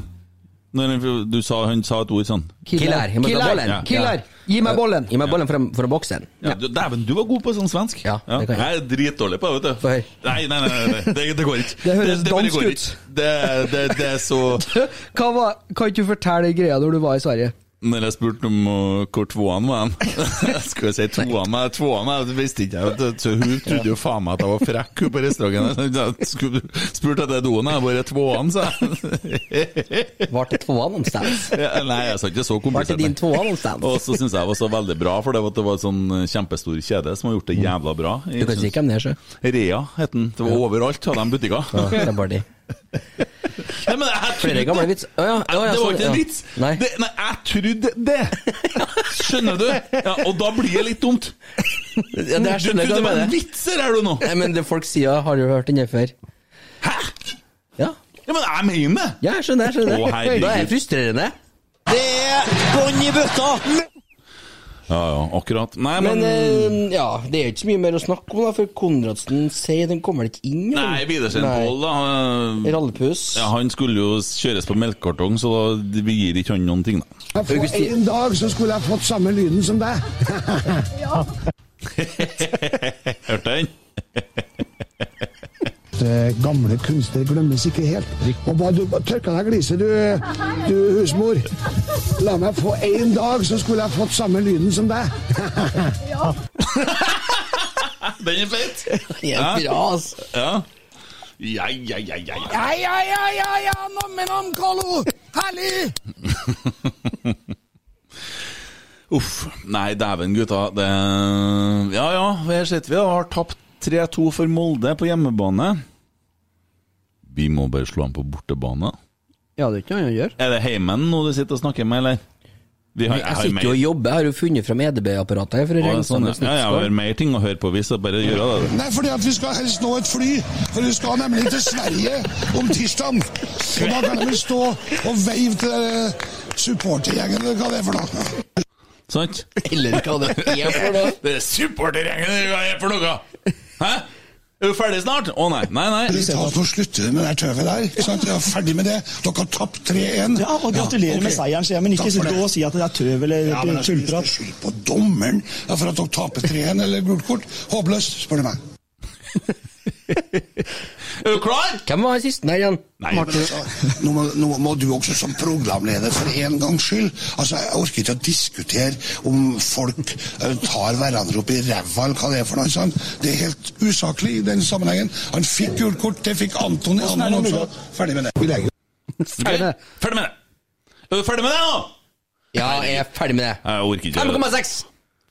Når han- du sa, han sa et ord sånn
Killer. Gi meg
Killer.
ballen.
Ja. Killer. Gi meg bollen.
Gi meg ballen fra, fra boksen.
ja. du- Dæven, du var god på sånn svensk.
Ja, det kan jeg.
Jeg er dritdårlig på det, vet du.
Få høre.
Nei, nei, nei, nei, nei. Det, det går ikke.
Det høres
bare
dansk
går
ut.
ikke. Det, det, det er så
Hva var, kan ikke du fortelle greia når du var i Sverige?
Når jeg spurte om uh, hvor toan var hen Skulle jeg si toan meg? Toan meg, det visste ikke jeg. vet du. Så hun trodde jo faen meg at jeg var frekk hun på restauranten. Jeg skulle- Spurte etter doen, jeg bare toan, sa jeg.
Var til tvåa noen steds.
Ja, Nei, jeg sa ikke så
Var til
komplisert.
din
nei.
tvåa noen steds.
Og så syns jeg det var så veldig bra, for det var, det var en sånn kjempestor kjede som har gjort det jævla bra.
Du kan si hvem det er, sjø.
Rea het den. Det var overalt av de butikkene.
Ja, det er bare de.
Nei, men jeg
Flere
trodde-
gamle vits. Å ja, å ja,
det var
sånn,
ikke en
ja.
vits!
Nei.
Det, nei, jeg trodde det! Skjønner du? Ja, og da blir det litt dumt.
Ja, det her
Du
skjønner
trodde det
jeg hva du
var en
mener.
vits her, er du nå?
Nei, men det folk sier, har du hørt den her før?
Hæ?
Ja.
Ja, men jeg mener det!
Ja, jeg skjønner, jeg skjønner.
Å, herregud.
da er det frustrerende.
Det er bånn i bøtta!
Ja, ja, akkurat. Nei, men,
Men eh, ja, det er jo ikke så mye mer å snakke om, da, for Konradsen sier den kommer ikke inn. eller?
Nei, Widersen
Nei.
Pål, da. eh,
Rallepus.
Ja, han skulle jo kjøres på melkekartong, så da vi gir ikke han noen ting, da.
Augustin.
En dag så skulle jeg fått samme lyden som deg.
Hørte den?
Eh, Gamle kunstnere glemmes ikke helt. Og hva, du tørka deg gliset, du, du husmor. La meg få en dag, så skulle jeg fått samme lyden som deg.
Den er feit!
Ja, bra, altså.
Ja. Ja, ja, ja, ja, ja.
Ja, ja, ja, ja, ja, nammenam, Carlo! Herlig!
Uff. Nei, dæven, gutta. Det Ja ja, her sitter vi og har tapt 3-2 for Molde på hjemmebane. Vi må bare slå an på bortebane.
Ja, det er ikke noe annet å gjøre.
Er det heimen nå du sitter og snakker med, eller? Vi har,
Jeg
har
sitter jo og jobber, jeg har jo funnet fram EDB-apparatet her for
Å,
å
ja,
regne
sånn, ja.
sammen
ja, jeg har
snittskål.
mer ting å høre på hvis jeg bare gjør det.
Nei, fordi at vi skal helst nå et fly, for vi skal nemlig til Sverige om tirsdagen. Og da kan vi stå og veive til eh, supportergjengen, eller hva det er for noe.
Sant?
Eller hva det er for noe.
Det er supportergjengen hva er det for noe! Hæ? Er du ferdig snart? Å nei. Nei, nei.
Vi tar for å slutte med det der tøvet der. ikke sant? Vi er ferdig med det. Dere har tapt 3-1.
Ja, og gratulerer
Ja, ok.
med seieren, sier jeg, men ikke
Takk for
sitt
det.
og si at det er tøv eller
Ja, men altså, hvis
tullprat.
du skyter på dommeren ja, for at dere taper 3-1 eller gult kort. Håpløst, spør du meg.
Er du klar?
Hvem var han siste der igjen?
Nei.
Altså, nå, må, nå må du også som programleder for en gangs skyld. Altså, Jeg orker ikke å diskutere om folk eh, tar hverandre opp i ræva eller hva det er for noe. Sånn. Det er helt usaklig i den sammenhengen. Han fikk gult kort, det fikk Anton i andre også. Ferdig med det. Vi legger
Ferdig med det. Ferdig med det. Er du ferdig med det nå?
Ja, jeg er ferdig med det.
Jeg orker ikke.
5,6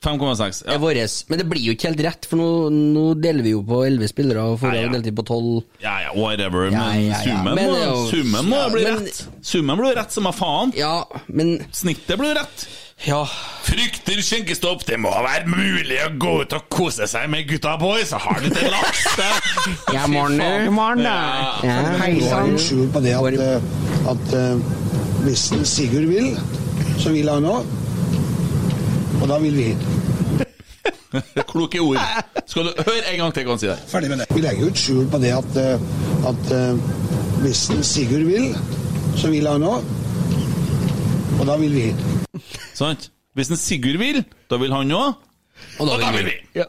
5,6.
er
Ja.
våres. Men det blir jo ikke helt rett, for nå, nå deler vi jo på 11 spillere,
Ja,
og forrige
ja.
delte vi på 12.
Ja, ja, whatever. Men
Ja, ja, ja.
summen,
Men
må,
det er jo-
summen må
ja,
bli
men-
rett. Summen blir rett som er faen.
Ja, men
Snittet blir rett.
Ja,
Frykter skjenkestopp. Det må være mulig å gå ut og kose seg med gutta boys og ha litt laks.
ja Morner.
Hei sann! Skjul på det at, eh, at eh, hvis en Sigurd vil, så vil han òg. Og da vil vi.
Kloke ord. Skal du høre en gang til hva han sier der?
Ferdig med det. Vi legger jo ikke skjul på det at, eh, at eh, hvis en Sigurd vil, så vil han òg. Og da vil vi.
Sant? Hvis en Sigurd vil, da vil han òg. Og da vil vi. Ja.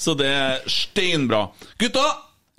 Så det er steinbra. Gutta,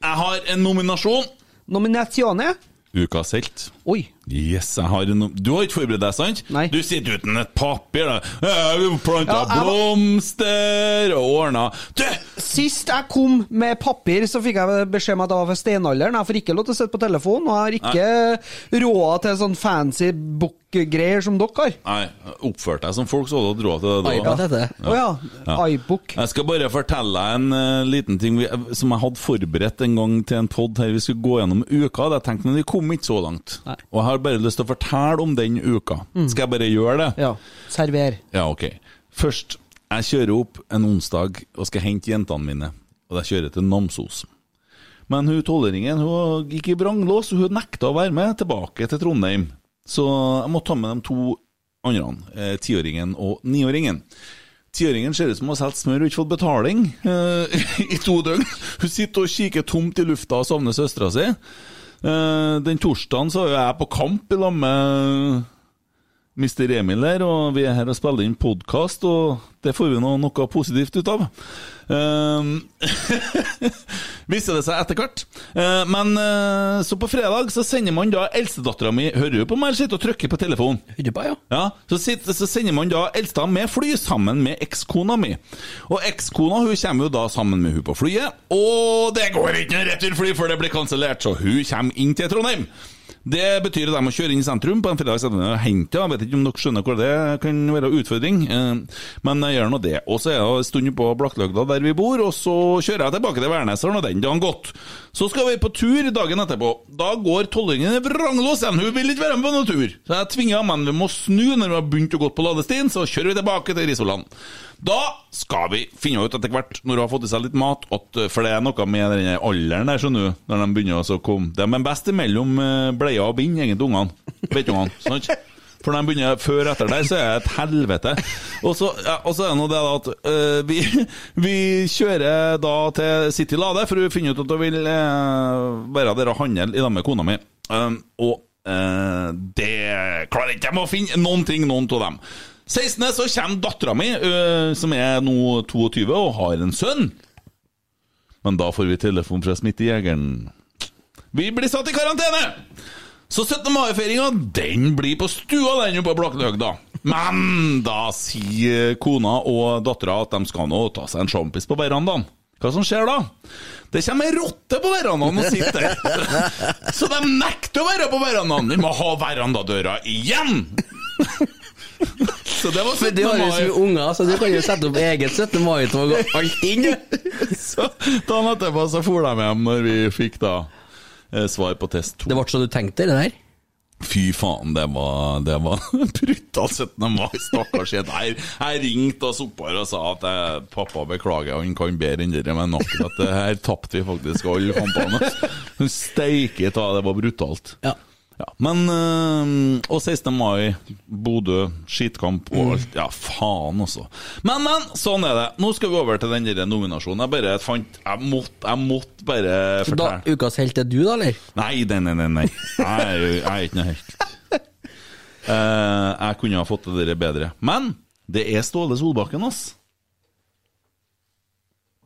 jeg har en nominasjon.
Nominatione?
Ukas helt.
Oi.
Yes, jeg har en nom- Du har ikke forberedt deg, sant?
Nei.
Du sitter uten et papir. da. Eh, Jeg har planta
Ja, jeg var-
blomster og ordna Du!
Sist jeg kom med papir, så fikk jeg beskjed om at jeg var fra steinalderen. Jeg får ikke lov til å sitte på telefonen, og jeg har ikke råd til sånn fancy book-greier som dere har.
Nei, oppførte deg som folk, så hadde du råd til det.
iPad
da.
heter det.
Å ja.
Ja.
iBook.
Jeg skal bare fortelle deg en eh, liten ting vi, som jeg hadde forberedt en gang til en pod her. Vi skulle gå gjennom uka. hadde Jeg tenkte, men vi kom ikke så langt. Og jeg har bare lyst til å fortelle om den uka. Skal jeg bare gjøre det?
Mm. Ja. Server.
Ja, ok. Først, jeg kjører opp en onsdag og skal hente jentene mine. Og jeg kjører til Namsos. Men hun tolvåringen hun gikk i vranglås, og hun nekta å være med tilbake til Trondheim. Så jeg måtte ta med de to andre, eh, tiåringen og niåringen. Tiåringen ser ut som hun har solgt smør og ikke fått betaling eh, i to døgn. Hun sitter og kikker tomt i lufta og savner søstera si. Eh, den torsdagen så er jeg på kamp i lag med Mr. Emil der, og vi er her og spiller inn podkast, og det får vi nå noe positivt ut av. Um, Viste det seg etter hvert. Eh, men eh, så på fredag så sender man da eldstedattera mi Hører du på meg, eller sitter og trykker på telefonen?
Hudeba, ja.
Ja, så, sitter, så sender man da eldsta med fly sammen med ekskona mi. Og ekskona hun kommer jo da sammen med hun på flyet, og det går ikke noe returfly før det blir kansellert, så hun kommer inn til Trondheim. Det betyr at de må kjøre inn i sentrum på en fredag ettermiddag og hente henne. Jeg vet ikke om dere skjønner hvor det kan være utfordring, eh, men jeg gjør nå det. Og så er jeg en stund på Blakkløgda der vi bor, og så kjører jeg tilbake til Værneseren, og den dagen gått. Så skal vi på tur dagen etterpå. Da går tolvåringen i vranglås igjen, hun vil ikke være med på noen tur. Så jeg tvinga men vi må snu når vi har begynt å gå på ladestien, så kjører vi tilbake til Risoland. Da skal vi finne ut etter hvert, når hun har fått i seg litt mat, at, eh, for det er noe med den alderen der, skjønner du, når de begynner å så komme De er best mellom bleia og bind, egentlig, ungene. Bekkungene. sant? For når de begynner før og etter der, så er det et helvete. Og så, ja, og så er det nå det da at eh, vi, vi kjører da til City Lade, for hun finner ut at hun vil eh, være der og handle i lag med kona mi. Um, og eh, det klarer ikke de å finne noen ting, noen av dem. 16. så kommer dattera mi, eh, som er nå 22 og har en sønn. Men da får vi telefon fra smittejegeren. Vi blir satt i karantene! Så 17. mai-feiringa, den blir på stua, den jo på Blakkelhøgda. Men da sier kona og dattera at de skal nå ta seg en sjampis på verandaen. Hva som skjer da? Det kommer ei rotte på verandaen og sitter der. Så de nekter å være på verandaen. Vi må ha verandadøra igjen! Så det var 17.
Men det har jo så
mai.
mye unger, så du kan jo sette opp eget 17. mai-tog og alt inn.
Så dagen etterpå så for de hjem når vi fikk da eh, svar på test to.
Det ble så du tenkte, det der?
Fy faen, det var, det var brutal 17. mai, stakkars jente. Jeg, jeg ringte oss opp her og sa at jeg, pappa beklager, han kan bedre enn dere, men akkurat det her tapte vi faktisk alle kampene. Hun steike ta, det var brutalt.
Ja.
Ja, men eh, Og 16. mai, Bodø, skitkamp og alt. Ja, faen også. Men, men, sånn er det. Nå skal vi over til den der nominasjonen. Jeg bare fant Jeg måtte, jeg måtte bare
Da,
fortelle.
ukas helt er du, da, eller?
Nei, nei, nei, nei. nei. Jeg er jo jeg er ikke noe helt Eh, Jeg kunne ha fått det der bedre. Men det er Ståle Solbakken, ass.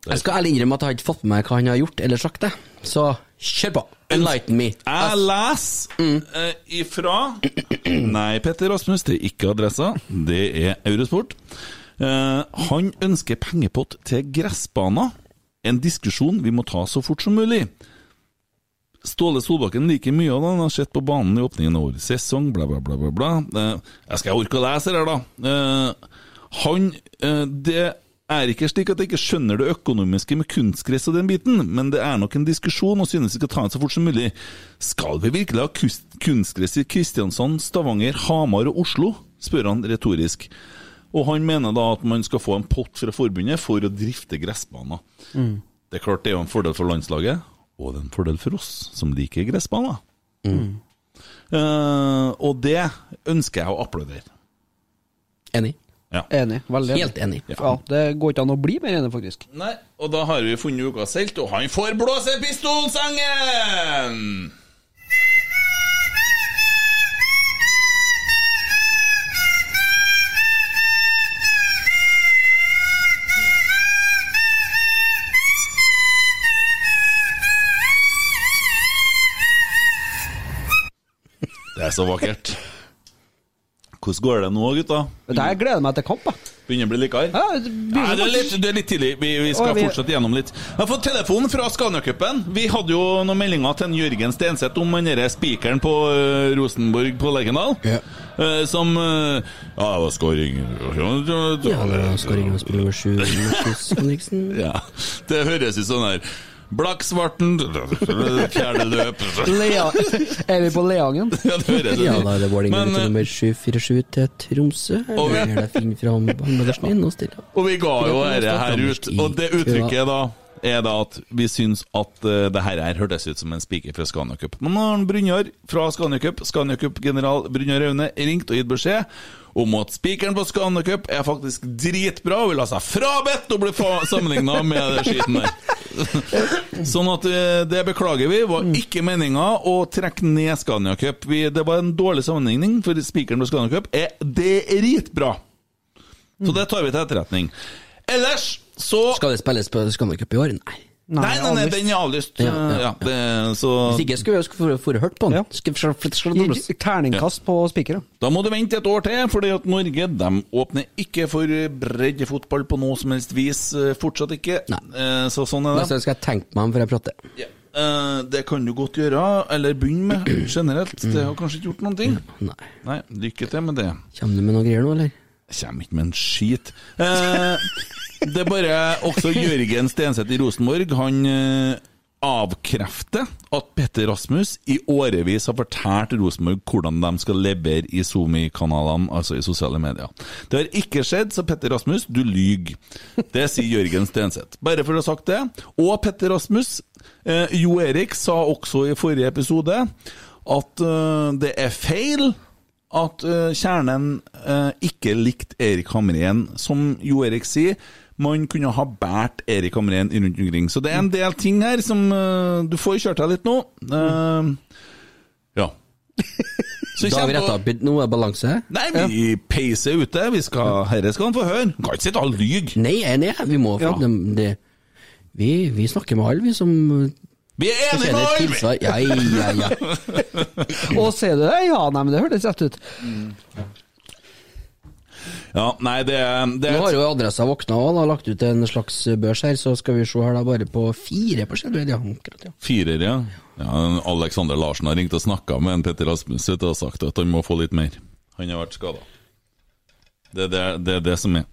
Jeg skal ærlig innrømme at jeg har ikke fått med meg hva han har gjort eller sagt, det. Så kjør på. Enlighten me.
Jeg leser eh, ifra Nei, Petter Rasmus, det er ikke adressa. Det er Eurosport. Eh, han ønsker pengepott til gressbaner. En diskusjon vi må ta så fort som mulig. Ståle Solbakken liker mye av det han har sett på banen i åpningen av årets sesong, bla, bla, bla. bla, bla. Eh, jeg skal orke å lese det her, da. Eh, han eh, Det er ikke slik at jeg ikke skjønner det økonomiske med kunstgress og den biten, men det er nok en diskusjon og synes vi skal ta det så fort som mulig. Skal vi virkelig ha kus- kunstgress i Kristiansand, Stavanger, Hamar og Oslo? spør han retorisk. Og han mener da at man skal få en pott fra forbundet for å drifte gressbaner. Det er klart det er jo en fordel for landslaget, og det er en fordel for oss som liker gressbaner. Eh, og det ønsker jeg å applaudere.
Enig.
Ja.
Enig. Veldig enig.
Helt enig.
Ja. Det går ikke an å bli mer enig, faktisk.
Nei, og da har vi funnet ukas helt, og han får blåse pistolsangen! Det er så vakkert. Hvordan går det nå, gutta?
Det her gleder jeg meg til kamp, da.
Begynner å bli likere?
Ja, det blir
Nei, det er litt, det er litt tidlig. Vi, vi skal
Å, vi-
fortsette gjennom litt. Jeg har fått telefon fra Scania-cupen. Vi hadde jo noen meldinger til en Jørgen Stenseth om den derre spikeren på ø, Rosenborg på Lerkendal. Ø, som ø, Ja, det var scoring
Ja, det er skåring og spiller nummer sju, Markus Henriksen.
Ja, det høres ut sånn her Blakksvarten Fjerde løp
Lea... Er vi på Leangen?
Ja, det høres ut
Ja, da er det Vålerenga
Men, eh,
til
ø,
nummer 747 til Tromsø.
Og vi-
Der er det Finn fram håndballersen inn og stiller opp.
Og vi ga jo dette her ut, og det uttrykket da er da at vi syns at eh, det her her hørtes ut som en spiker fra Scania Cup. Men nå har han Brynjar fra Scania Cup, Scania Cup-general Brynjar Aune, ringt og gitt beskjed om at spikeren på Scania Cup er faktisk dritbra og vil ha seg frabedt å bli sammenligna med det skiten der. Sånn at eh, det beklager vi,
Mm.
var ikke meninga å trekke ned Scania Cup. Vi, det var en dårlig sammenligning, for spikeren på Scania Cup er dritbra. Så det tar vi til etterretning. Ellers så
Mm. Skal det spilles på Scandic Cup i år? Nei.
Nei, nei, nei, den er avlyst. Ja,
Ja, ja,
det, så
Hvis ikke skulle jeg få få hørt på den.
Ja.
Skal- skal- skal- skal-
Gi
skal-
Terningkast på spikere.
Da må du vente et år til, fordi at Norge de åpner ikke for eh, breddefotball på noe som helst vis. eh, Fortsatt ikke. Eh, Så sånn er det.
Neste gang skal jeg tenke meg om før jeg prater.
Ja. Eh, Det kan du godt gjøre, eller begynne med generelt. Det har kanskje ikke gjort noen ting.
Nei.
Nei, lykke til med det.
Kommer du med noe greier nå, eller?
Kjem ikke med en skit. Eh, det er bare også Jørgen Stenseth i Rosenborg. Han eh, avkrefter at Petter Rasmus i årevis har fortalt Rosenborg hvordan de skal levere i SoMe-kanalene, altså i sosiale medier. Det har ikke skjedd, så Petter Rasmus, du lyger. Det sier Jørgen Stenseth. Bare for å ha sagt det. Og Petter Rasmus, eh, Jo Erik sa også i forrige episode at eh, det er feil at eh, kjernen eh, ikke likte Erik Hamren. Som Jo Erik sier, man kunne ha båret Erik Hamren rundt omkring. Så det er en del ting her som eh, Du får kjørt deg litt nå. Eh, ja. Så
Mm. Da har
kjenn
vi
på-
retta opp i noe balanse.
Nei, vi peiser ute. Vi skal, herre skal han få høre. Han kan ikke sitte og lyge.
Nei, jeg er enig, jeg. vi må
Ja.
få dem- det, vi, vi snakker med alle, vi som
Vi er enige
kjenner
med
et
alle! vi!
tilsvar. Ja, ja, ja.
Og ser du det? Ja, nei, men det hørtes rett ut.
Ja, nei, det, det
Nå har jo Adressa våkna og har lagt ut en slags børs her, så skal vi se her, da. Bare på fire på skjermen. Ja, akkurat, ja.
Firer, ja. ja. Alexander Larsen har ringt og snakka med en Petter Rasmus vet du, og sagt at han må få litt mer. Han har vært skada. Det er det, det er det som er.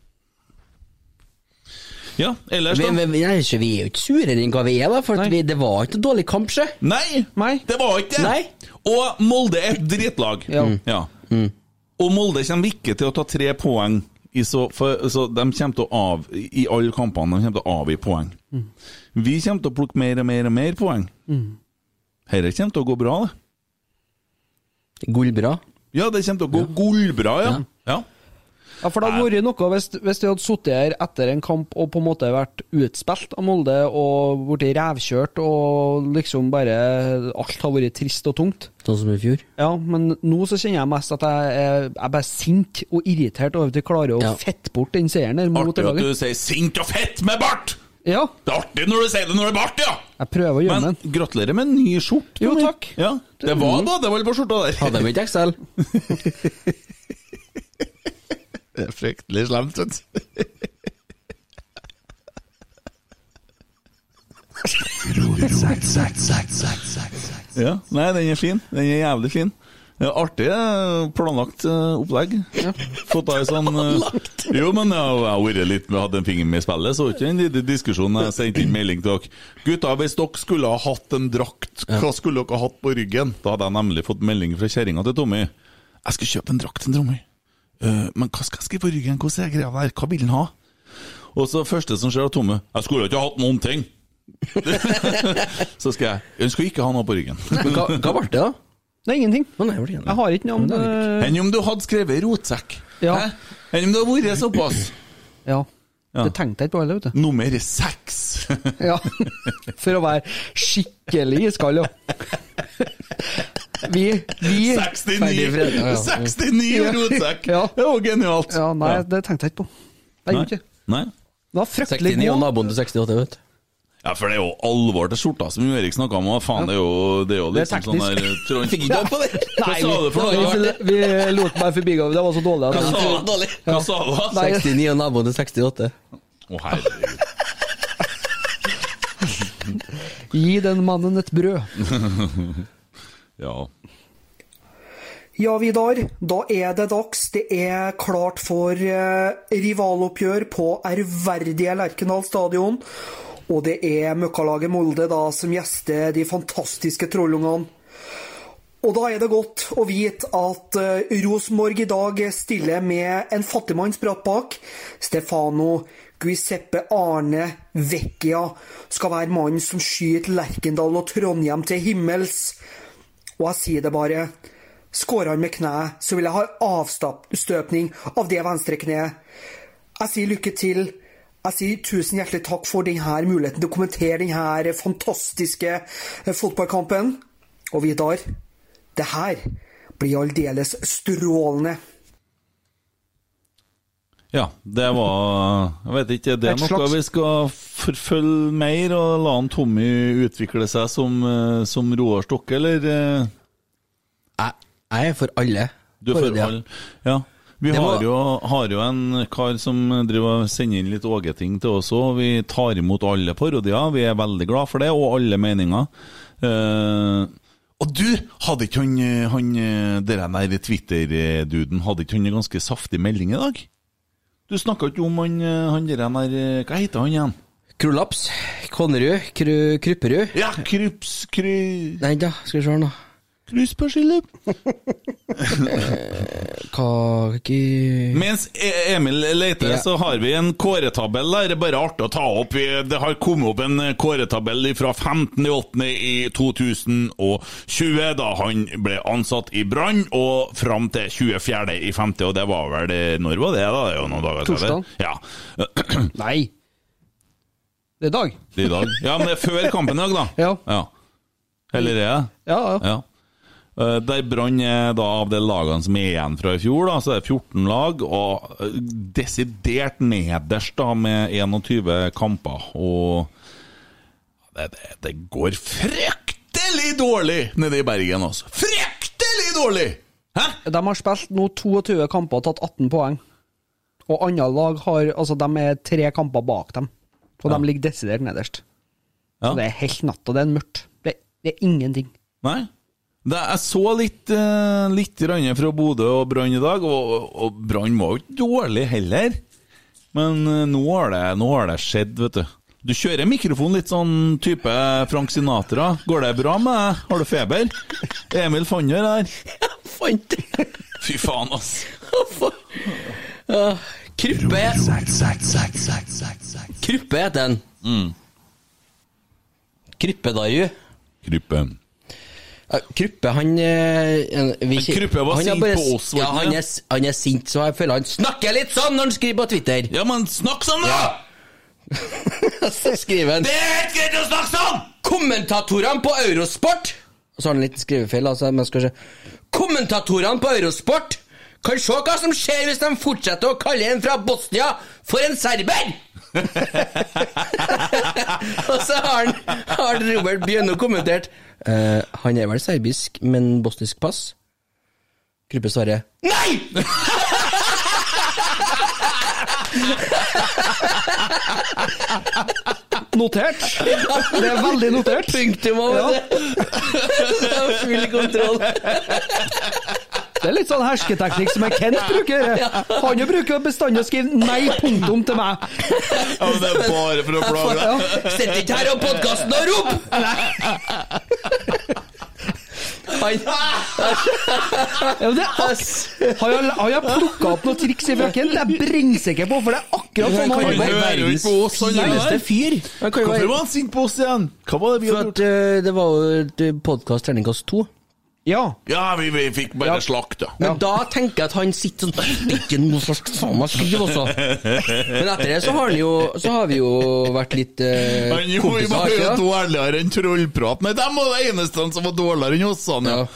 Ja, ellers,
Vi,
da?
vi, vi, nei, så vi er jo ikke surere enn hva vi er, da, for at vi, det var ikke noe dårlig kamp, sjø.
Nei,
Nei.
det var ikke det!
Nei.
Og Molde er et drittlag.
Ja. Mm.
Ja. Og Molde kommer ikke til å ta tre poeng. I så, for, så de kommer til å av, I alle kampene de kommer til å avgi poeng. Vi kommer til å plukke mer og mer og mer poeng. Dette kommer til å gå bra, det.
Gullbra.
Ja, det kommer til å gå gullbra, ja. ja.
Ja, for det hadde vært noe hvis, hvis vi hadde sittet her etter en kamp og på en måte vært utspilt av Molde og blitt revkjørt og liksom bare Alt har vært trist og tungt.
Sånn som i fjor.
Ja, men nå så kjenner jeg mest at jeg er, jeg er bare sint og irritert over at vi klarer å
Ja.
fette bort den seieren der mot
Artig
det
at du
laget.
sier 'sint og fett med bart'!
Ja,
Det er artig når du sier det når det er bart, ja!
jeg prøver å gjøre
Men
meg en.
gratulerer med en ny skjorte.
Jo,
Tommy.
takk.
Ja, det var badevann på skjorta der.
Hadde de ikke Excel?
Det er fryktelig slemt, vet du. Ja, nei, den er fin. Den er jævlig fin. Det er Artig eh, planlagt eh, opplegg. Fått av en sånn eh, Jo, men jeg har- jeg har vært litt med hadde en finger med i spillet, så var ikke den lille diskusjonen jeg sendte inn melding til dere. Gutta, hvis dere skulle ha hatt en drakt, hva skulle dere ha hatt på ryggen? Da hadde jeg nemlig fått melding fra kjerringa til Tommy. Jeg skal kjøpe en drakt til Tommy. «Eh, Men hva skal jeg skrive på ryggen? Hvordan er greia der? Hva vil han ha? Og så første som skjer, er Tomme Jeg skulle ikke hatt noen ting! så skal jeg Hun skulle ikke ha noe på ryggen.
Men hva, hva ble det, da?
Det er ingenting.
Å, nei, ble det
Jeg har ikke noe om
Ja, men
eh,
det er
det.
Enn om du hadde skrevet rotsekk?
Ja.
Hæ? Enn om det hadde vært såpass?
Ja.
Ja.
Det tenkte jeg ikke på heller, vet du.
Nummer seks.
Ja. For å være skikkelig iskald, ja. Vi, vi
69
Ferdig fredag, ja.
69 rotsekk!
Ja.
Det var genialt.
Ja, nei, det tenkte jeg ikke på. Jeg gjorde ikke det.
Nei.
Det var fryktelig
69 og
god.
naboen til 68, vet du.
Ja, for det er jo alvor til skjorta som Erik snakka om. og Faen, det er jo, det er jo
Det er
liksom sånn
teknisk.
der Trond-
Fikk ikke opp på det!
Hva sa du for
Vi,
noe?
vi lot meg forbigå, det var så dårlig.
Hva
At
sa
jeg,
du? Hva sa du? da?
Nei.
69 og naboen til 68.
Å, herregud.
gi den mannen et brød.
Ja.
Ja, Vidar, da er det dags. Det er klart for eh, rivaloppgjør på ærverdige Lerkendal stadion. Og det er møkkalaget Molde da som gjester de fantastiske trollungene. Og da er det godt å vite at eh, Rosenborg i dag stiller med en fattigmanns brakk. Stefano Guiseppe Arne Vecchia skal være mannen som skyter Lerkendal og Trondheim til himmels. Og jeg sier det bare. Skårer han med kneet, så vil jeg ha avstøpning av det venstre kneet. Jeg sier lykke til. Jeg sier tusen hjertelig takk for denne muligheten til å kommentere denne fantastiske eh, fotballkampen. Og Vidar, det her blir aldeles strålende.
ja. Det var Jeg vet ikke, det er
Et
noe
slags-
vi skal forfølge mer, og la han Tommy utvikle seg som, eh, som Roar Stokke, eller? eh?
Jeg, jeg er for alle.
Du er
ja.
forhold Ja. Vi
Det
har
var-
jo, har jo en kar som driver og sender inn litt Åge-ting til oss òg. Vi tar imot alle parodier. Vi er veldig glad for det, og alle meninger. Eh, og du, hadde ikke han, eh, han eh, det der Twitter-duden Hadde ikke han en ganske saftig melding i dag? Du snakka ikke om han, eh, han der eh, Hva heter han igjen?
Krolaps, Konnerud, Kru, Krupperud
Ja, Krups... Kru,
Nei da, skal vi se her nå.
Kruspersildep.
Hva ikke-
Mens E- Emil leter,
Ja.
så har vi en kåretabell der. Det er bare artig å ta opp. Vi- Det har kommet opp en kåretabell fra 15.8.2020, da han ble ansatt i Brann, og fram til 24.5., og det var vel det- Når var det, da? Det er jo noen dager siden.
Torsdag.
Ja.
Nei. Det er dag.
Det er Eh, I dag. Ja, men det er før kampen i dag, da.
Ja.
Eller er det?
Ja, ja.
Ja. Eh, Der Brann er da av de lagene som er igjen fra i fjor, da, så er det 14 lag, og eh, desidert nederst da med 21 kamper. Og det, det, det går fryktelig dårlig nede i Bergen, altså. Fryktelig dårlig! Hæ?
De har spilt nå 22 kamper og tatt 18 poeng. Og andre lag har Altså, de er tre kamper bak dem. Og de ligger desidert nederst.
Ja.
Så det er helt natt, og det er mørkt. Det, det er ingenting.
Nei. Det, jeg så litt, eh, litt grann fra Bodø og Brann i dag, og, og Brann var jo ikke dårlig heller. Men eh, nå har, det, nå har det skjedd, vet du. Du kjører mikrofonen litt sånn type Frank Sinatra. Går det bra med deg? Har du feber? Emil Fanner der.
Fant det!
Fy faen, ass.
Ja, Kruppe Kruppe heter den. Kruppe-Daju.
Kryppe.
Ja, Kruppe, han eh, en- vi,
Men Kruppe var
han er
sint
bare-
på oss, var
Ja,
han
han
det?
er, s- han er sint, så jeg føler han snakker litt sånn når han skriver på Twitter!
Ja, men snakk sånn, da!
Så skriver han
Det er helt greit å snakke sånn!
Kommentatorene på Eurosport Og så har han en liten skrivefeil, altså, men skal vi se Kommentatorene på Eurosport kan se hva som skjer hvis de fortsetter å kalle en fra Bosnia for en serber! og så har, han, har Robert Bjønno kommentert «Eh, Han er vel serbisk, men bosnisk pass? Gruppe svarer Nei!
Notert! Det er veldig notert.
Punktum over det! Full kontroll.
Det er litt sånn hersketeknikk som jeg Kent bruker. Han jo bruker bestandig å skrive 'nei, punktum' til meg.
Ja, men det er bare for å plage deg.
Sitt ikke her og podkasten og rop!
Ja, men det er ak har jeg, har jeg plukka opp noen triks i frakken? Det er jeg brennsikker på, for det er akkurat sånn
Han
han
hører jo ikke på oss, han
fineste
der.
fyr.
Hvorfor var han sint på oss igjen? Hva var det vi
For
hadde
at
gjort?
eh, det var jo et podkast terningkast to.
Ja.
Ja, vi, vi fikk bare slakt, da.
Men da tenker jeg at han sitter sånn Ikke noe slags faen meg skriv også. Men etter det så har, han jo, så har vi jo vært litt eh,
Men jo, vi
kompiser.
var jo
ikke det?
dårligere enn trollprat. Nei, de var de eneste som var dårligere enn oss, sa han. Ja.
Ja.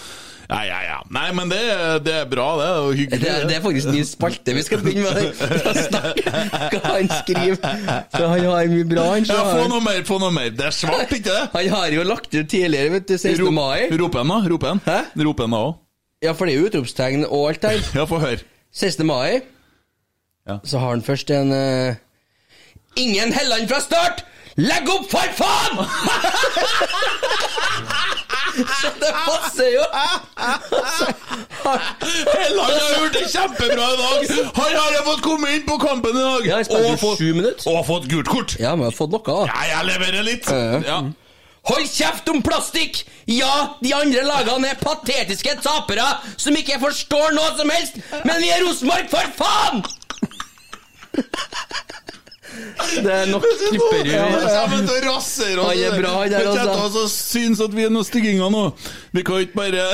Ja, ja, ja. Nei, men det, det er bra, det. er jo hyggelig.
Det, det er faktisk ny spalte vi skal begynne med. å snakke om Hva han skriver. For han har mye bra, han. så
ja, få
har-
noe mer, få noe mer. Det er svart, ikke det?
Han har jo lagt ut tidligere, vet du. 16.
Rop,
mai.
rop en, da. Rop en.
Hæ?
Rop en da òg.
Ja, for det er jo utropstegn og alt der.
Ja, få høre.
16. mai
Ja.
Så har han først en eh, Ingen Helland fra start! Legg opp, for faen! Så det passer jo!
Helland har gjort det kjempebra i dag! Han har jo fått komme inn på kampen i dag!
Ja, jeg spilte jo
Og fått-
sju minutter.
Og fått gult kort!
Ja, men jeg har fått noe, da.
Ja, jeg leverer litt!
Ja.
Ja.
Hold kjeft om plastikk! Ja, de andre lagene er patetiske tapere som ikke forstår noe som helst, men vi er Rosenborg, for faen! Det er nok klipperud.
Ja, men da raser oss.
Han er bra, han der,
Vi
altså.
kjenner oss og syns at vi er noen stygginger nå. Vi kan ikke bare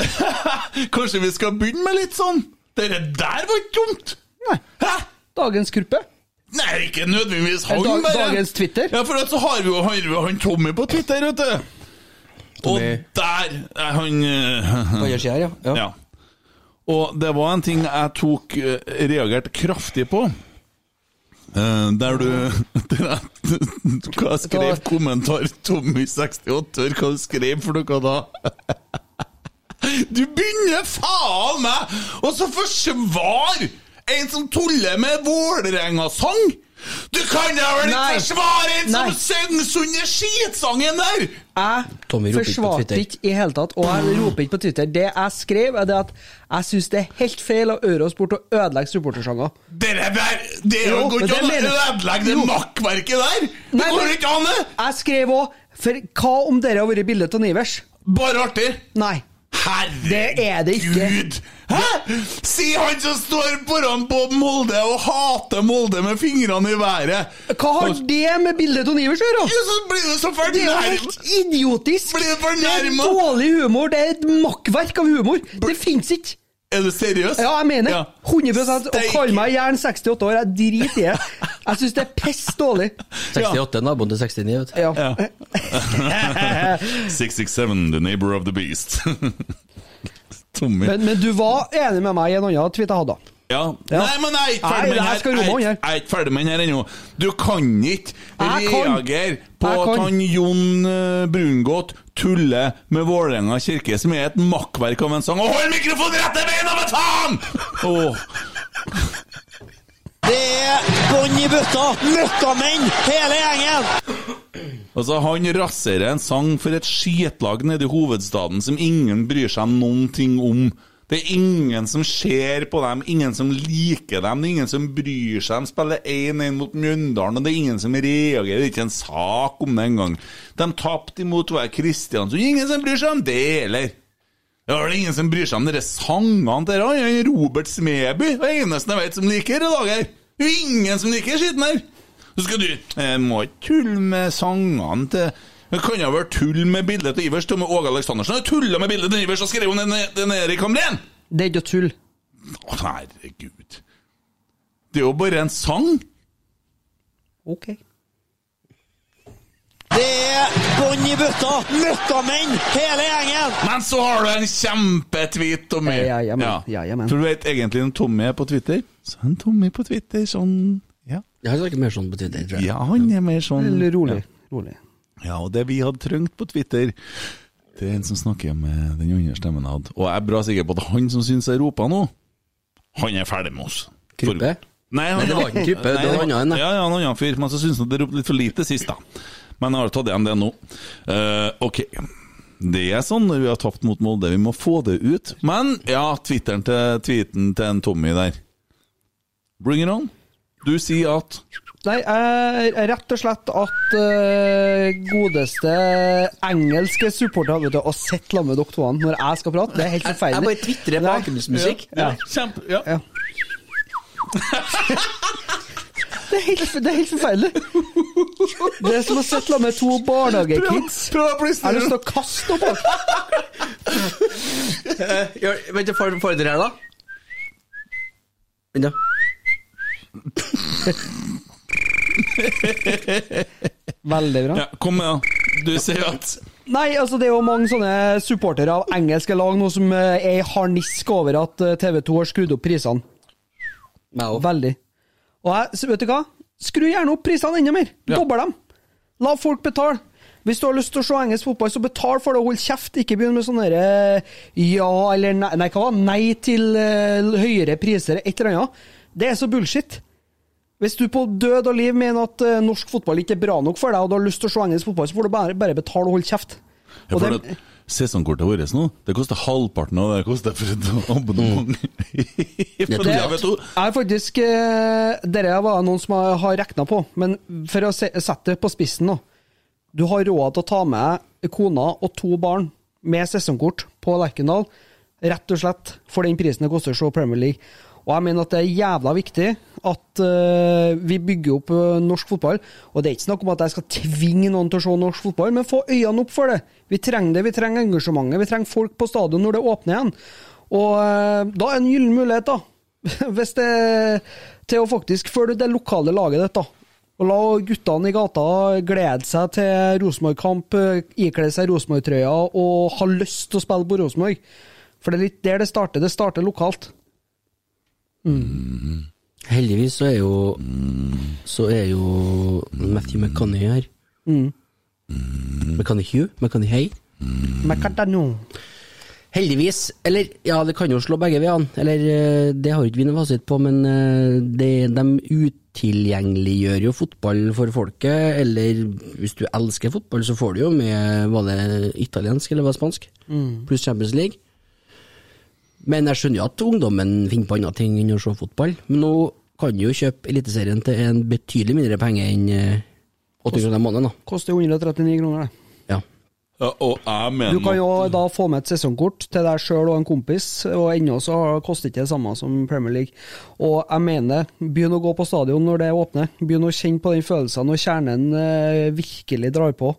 Kanskje vi skal begynne med litt sånn? Dere der var ikke dumt!
Nei.
Hæ?
Dagens gruppe.
Nei, ikke nødvendigvis han,
Dag-
bare.
dagens Twitter?
Ja, for at så har vi jo har vi, han Tommy på Twitter, vet du. Og
Tommy.
der er han eh,
Hva gjør seg her, ja?
Ja. Og det var en ting jeg tok eh, reagerte kraftig på. Eh, der du der jeg, Hva jeg skrev kommentar Tommy68, hva du skrev for noe da? Du begynner faen meg å så forsvare en som tuller med Vålerenga-sang! Du kan da vel ikke
Nei.
forsvare en
Nei.
som synger sunne skitsangen der!
Tommy roper ikke
Jeg
på
forsvarte
Twitter.
ikke i hele tatt, og jeg roper ikke på Twitter. Det jeg skrev, er det at jeg syns det er helt feil av Euros bort å ødelegge supportersjanger.
Dere der, det er jo
Jo,
går
men
ikke
det
an å
mener-
ødelegge det
Jo.
makkverket der! Det
Nei,
går
men-
ikke an, det!
Jeg skrev òg For hva om dere har vært bildet av Nivers?
Bare artig.
Nei.
Herregud!
Det er det ikke.
Hæ?! Si han som står foran Bob Molde og hater Molde med fingrene i været.
Hva har det med bildet av Nivers å gjøre?
Ja, så blir det så
Det er jo
fornærmet!
helt idiotisk!
Blir du
Det er
fornærmet?
dårlig humor, det er et makkverk av humor. Det fins ikke!
Er du seriøs?
Ja, jeg mener
Ja.
100 Og
Steik.
kall meg gjerne 68 år, jeg driter i det. Jeg syns det er piss dårlig.
68, naboen til 69, vet du.
Ja.
667, the neighbor of the beast. Tommy.
Men, men du var enig med meg i en annen tweet jeg hadde.
ja.
Ja.
Nei, men jeg er ikke ferdig med
Nei,
den
det her
her.
skal romme
Jeg-
han her.
Jeg er ikke ferdig med den her ennå. Du kan ikke
Jeg kan.
reagere på
Jeg
at
kan.
han Jon eh, Brungot tuller med Vålerenga kirke, som er et makkverk av en sang. Og hold mikrofonen rett i beina, for faen! Åh.
Det er bånn i bøtta! Møkkamenn, hele gjengen!
Altså, han raserer en sang for et skitlag nede i hovedstaden som ingen bryr seg noen ting om. Det er ingen som ser på dem, ingen som liker dem, det er ingen som bryr seg. De spiller 1-1 mot Mjøndalen, og det er ingen som reagerer. Det er ikke en sak om det engang. De tapte imot hva er Kristiansund. Ingen som bryr seg om det heller. Det er vel ingen som bryr seg om dere sangene til dere. Han er Robert Smeby det er eneste jeg vet som liker det laget her. Det er jo ingen som liker skitten her. Så skal du Jeg må ikke tulle med sangene til Det kan jo være tull med bildet til Ivers. Til og med Åge Aleksandersen har tulla med bildet til Ivers og skrevet om den, den Erik Hamren!
Det er ikke tull.
Å, herregud. Det er jo bare en sang.
Ok.
Det er bånn i bøtta! Møkkamenn, hele gjengen!
Men så har du en kjempetweet, Tommy.
Ja, ja, men- ja, ja, men.
For du vet egentlig når Tommy er på Twitter, så er han Tommy på Twitter sånn Ja,
Jeg har snakket mer sånn på Twitter, tror jeg.
ja han er mer sånn
Eller Rolig. Rolig.
Ja, og det vi hadde trengt på Twitter Det er en som snakker med den andre stemmen jeg hadde. Og jeg er bra sikker på at han som syns jeg roper nå, han er ferdig med oss.
Gruppe?
Nei, han,
Nei, det var ikke en gruppe, det var en annen, da.
Ja, ja, en annen fyr. Men så syns han det ropte litt for lite sist, da. Men jeg har tatt igjen det nå. Eh, ok. Det er sånn når vi har tapt mot Molde, vi må få det ut. Men ja, Twitteren til tweeten til en Tommy der. Bring it on. Du sier at
Nei, jeg er rett og slett at eh, godeste engelske supporter vet du, har sett sammen med dere to når jeg skal prate. Det er helt
Jeg-
forferdelig.
jeg bare twitrer
Nei.
bakgrunnsmusikk.
Ja.
Kjempe... Ja.
Ja. Det, er helt, det er helt forferdelig. Det er som å sitte sammen med to barnehagekids.
Prøv å bli
Jeg har lyst
snill!
til å kaste noe bak.
Gjør, vent, jeg får, får dere her, da? Vent, da.
Veldig bra.
Ja, kom med, da. Du sier at
Nei, altså det er jo mange sånne supportere av engelske lag nå som eh, er i harnisk over at eh, TV 2 har skrudd opp prisene.
Meg òg.
Veldig. Og jeg, så vet du hva? Skru gjerne opp prisene enda mer.
Ja.
Dobbel dem. La folk betale. Hvis du har lyst til å se engelsk fotball, så betal for det. Hold kjeft. Ikke begynn med sånne derre ja eller nei Nei, hva var det? Nei til eh, høyere priser, et eller annet. Det er så bullshit. Hvis du på død og liv mener at eh, norsk fotball ikke er bra nok for deg, og du har lyst til å se engelsk fotball, så får du bare, bare betale og holde kjeft.
Ja,
Og
for
det-
at Sesongkortet vårt nå, det koster halvparten av det det koster for et
Mm.
abonnement. For det, vet du,
er faktisk eh, Dere var noen som har- har regna på, men for å se, sette det på spissen nå Du har råd til å ta med kona og to barn med sesongkort på Lerkendal, rett og slett for den prisen det koster å se Premier League. Og jeg mener at det er jævla viktig at eh, vi bygger opp eh, norsk fotball. Og det er ikke snakk om at jeg skal tvinge noen til å se norsk fotball, men få øynene opp for det. Vi trenger det, vi trenger engasjementet, vi trenger folk på stadion når det åpner igjen. Og eh, da er det en gyllen mulighet, da. Hvis det Til å faktisk følge det lokale laget ditt, da. Og la guttene i gata glede seg til Rosenborg-kamp, eh, ikle seg Rosenborg-trøya og ha lyst til å spille på Rosenborg. For det er litt der det starter. Det starter lokalt.
Heldigvis så er jo Så er jo Matthew McConaughey her. Mm. McConaughey? McConaughey?
Macadano.
Heldigvis, eller ja, det kan jo slå begge veiene. Eller eh, det har jo ikke vi noe fasit på, men eh, det, de utilgjengeliggjør jo fotball for folket. Eller hvis du elsker fotball, så får du jo med Var det italiensk eller var det spansk? Pluss Champions League. Men jeg skjønner jo at ungdommen finner på andre ting enn å se fotball. Men nå kan du jo kjøpe Eliteserien til en betydelig mindre penge enn eh, 80 kroner i måneden, da.
Koster 139 kroner, det.
Ja.
ja, og jeg
Du
mener
kan jo da få med et sesongkort til deg sjøl og en kompis, og ennå så har- koster ikke det samme som Premier League. Og jeg mener, begynn å gå på stadion når det åpner. Begynn å kjenne på den følelsen når kjernen eh, virkelig drar på.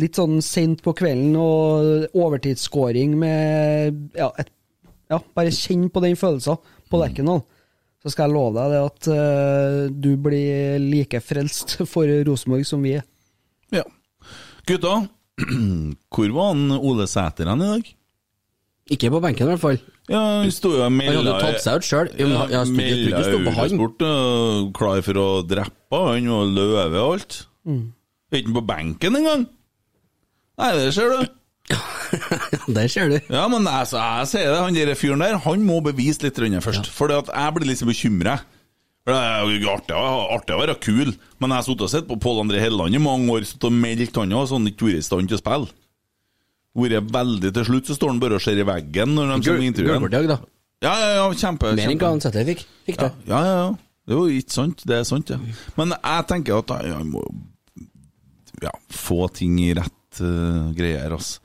Litt sånn sent på kvelden og overtidsscoring med ja, et, ja, bare kjenn på den følelsen på Lerkendal. Så skal jeg love deg det at eh, du blir like frelst for Rosenborg som vi er.
ja. Gutta, hvor var han Ole Sæter hen i dag?
Ikke på benken, i hvert fall.
Ja, Han sto jo og
Han hadde
melda
tatt seg ut sjøl.
Ja,
Jeg tror ikke
melda
det sto på han.
Eurosport øh, klar for å drepe han og løve og alt. Er ikke han på benken engang? Nei, det ser du.
Der ser du.
Ja, men altså, jeg sier det, han der fyren der, han må bevise litt rundt først. For jeg blir liksom bekymra. Det er jo artig, å- artig å være kul, men jeg har sittet og sett på Pål André Helleland i mange år sittet og meldt han og sånn ikke vært i stand til å spille. Vært veldig til slutt, så står han bare og ser i veggen når de kommer i intervjuet.
Gulvpartidag, da.
Ja, ja, ja, kjempe.
Mer enn
kjempe.
hva han Sæther fikk. Fikk det.
Ja, ja, ja. Det er jo ikke sant. Det er sant, ja. Men jeg tenker at jeg, jeg må ja, få ting i rett eh, greier, altså.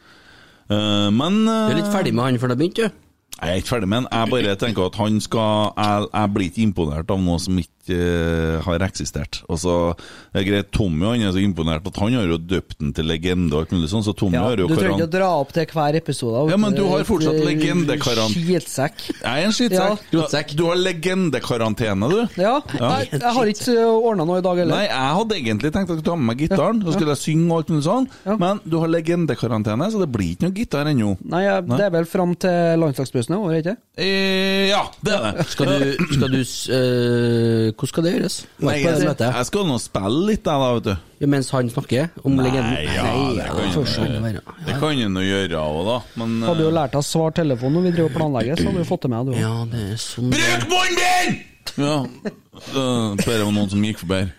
Eh, men
Du
eh,
er litt ferdig med han før det begynte, du.
jeg er ikke ferdig med den. Jeg bare tenker at han skal Jeg, jeg blir ikke imponert av noe som ikke eh, har eksistert. Altså, det er greit, Tommy han er så imponert at han har jo døpt den til legende og alt mulig sånn, så Tommy har
du
jo
trenger ikke å
karan...
dra opp til hver episode.
Ja, men du har fortsatt
Et, eh,
legendekaran-
Skitsekk.
Jeg er en
Ja,
skittsekk. Du har- du har legendekarantene, du.
Ja, Jeg, jeg har ikke ordna noe i dag heller.
Nei, jeg hadde egentlig tenkt at jeg skulle ta med meg gitaren, så skulle jeg synge og alt mulig sånn,
Ja.
men du har legendekarantene, så det blir ikke noe gitar ennå.
Nei, jeg, Det er vel fram til landslagsbussen er over, ikke
Eh, ja, det er det.
Skal du, skal du s- øh, Hvordan skal det gjøres? Var
Nei,
ikke på det
jeg,
møtet?
jeg skal nå spille litt, jeg, da, vet du.
Ja, Mens han snakker om legenden?
ja, det kan jo
først skal det
være.
være-
Det
ja.
kan en jo gjøre òg, da, men
Hadde jo
eh,
lært deg svar telefon når vi driver og planlegger, så hadde du fått det med, du òg.
ja, det er sånn
Bruk munnen din! Ja. eh, Bare var noen som gikk forbi her.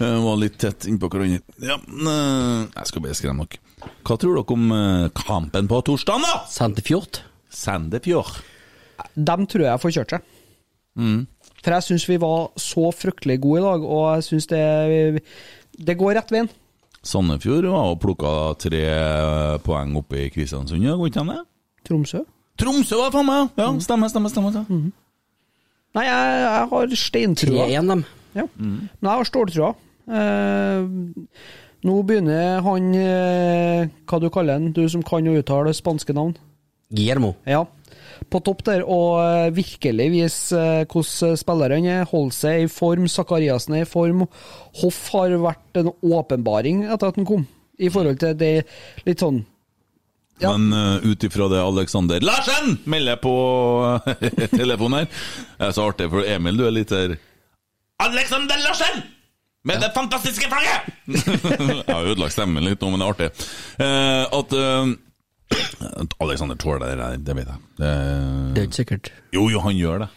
Eh, Var litt tett innpå hverandre. Ja, eh, jeg skal bare skremme dere. Hva tror dere om eh, kampen på torsdag, da?
Senterfjord.
Sandefjord. Mm.
Dem tror jeg får kjørt seg. For jeg syns vi var så fryktelig gode i dag, og jeg syns det Det går rett veien.
Sandefjord var og plukka tre eh, poeng oppe i Kristiansund, ja, går ikke an det?
Tromsø?
Tromsø var faen meg, ja. ja stemmer, stemmer, stemmer. stemmer.
Nei, jeg, jeg har steintrua.
3-1 dem.
Ja. Men jeg har ståltrua. Eh, nå begynner han eh, Hva du kaller han, du som kan å uttale spanske navn?
Guillermo.
Ja. På topp der, og eh, virkelig vise eh, hvordan spillerne er. Holde seg i form. Sakariassen er i form. Hoff har vært en åpenbaring etter at han kom, i forhold til det litt sånn
Men uh, ut ifra det Alexander Larsen melder på eh, telefonen her Det er så artig, for Emil, du er litt her Alexander Larsen! Med det fantastiske flagget! Jeg har ødelagt stemmen litt nå, men det er artig. Eh, at eh, at Alexander tåler det, der, det vet jeg.
Det
Det,
er ikke sikkert.
jo, jo, han gjør det.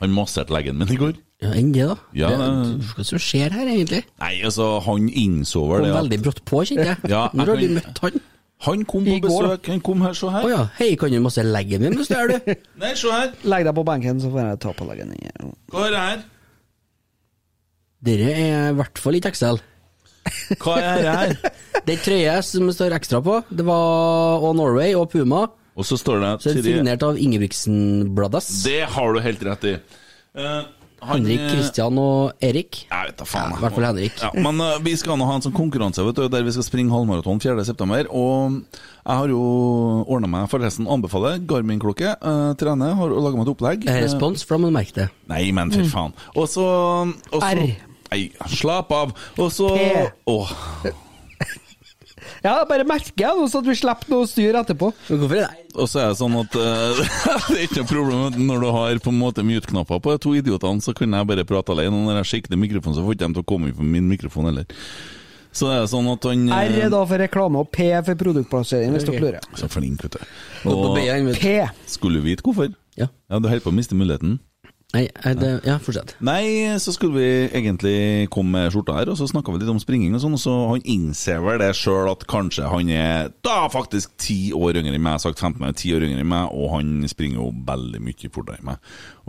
Han masserte leggen min i går.
Ja, Enn det, da.
Ja,
det,
det-
hva er det som skjer her, egentlig?
Nei, altså, han innså vel
Kom
det.
veldig
at-
brått på, kjenner jeg.
Ja, jeg
Når
kan-
har du møtt han?
Han kom på
I går, da.
besøk, han kom her, så
Å
her.
ja. Hei, kan du masse leggen min, hvis du gjør det?
Nei, se her.
Legg deg på benken, så får jeg ta på leggen din.
Hva er det her?
Dere er i hvert fall ikke XL.
Hva er det her?
Det er trøye som det står ekstra på. Det var All Norway og Puma.
Og så står det
Så er det
Siri-
signert av Ingebrigtsen Bladas.
Det har du helt rett i. Eh, han-
Henrik, Kristian og Erik.
Jeg vet da faen.
Ja,
jeg.
i hvert fall Henrik.
Ja, men eh, vi skal nå ha en sånn konkurranse vet du, der vi skal springe halvmaraton 4.9. Og jeg har jo ordna meg, forresten anbefaler Garmin-klokke. Uh, trener, har laga meg et opplegg.
Eh,
Eh,
Respons, for da må du merke det.
Nei, men
Mm.
for faen. Og så og så-
R.
Nei, slapp av. Og så
P.
Åh,
Ja, bare merker jeg nå, så at vi slipper noe styr etterpå.
Men hvorfor er det
Og så er det sånn at eh, det er ikke noe problem at når du har på en måte mute-knapper på de to idiotene, så kunne jeg bare prate alene. Og når jeg skikter mikrofonen, så får ikke de til å komme inn på min mikrofon heller. Så er det sånn at han eh,
R er da for reklame, og P er for produktplassering, hvis dere lurer.
Så flink, vet du.
Gå på
Og
B-en, vet du.
P.
skulle du vite hvorfor?
Ja.
Ja, du holder på å miste muligheten.
Nei, er det, ja, fortsett.
Nei, så skulle vi egentlig komme med skjorta her, og så snakka vi litt om springing og sånn, og så han innser vel det sjøl at kanskje han er da faktisk ti år yngre enn meg, jeg har sagt 15 år, ti år yngre enn meg, og han springer jo veldig mye fortere enn meg.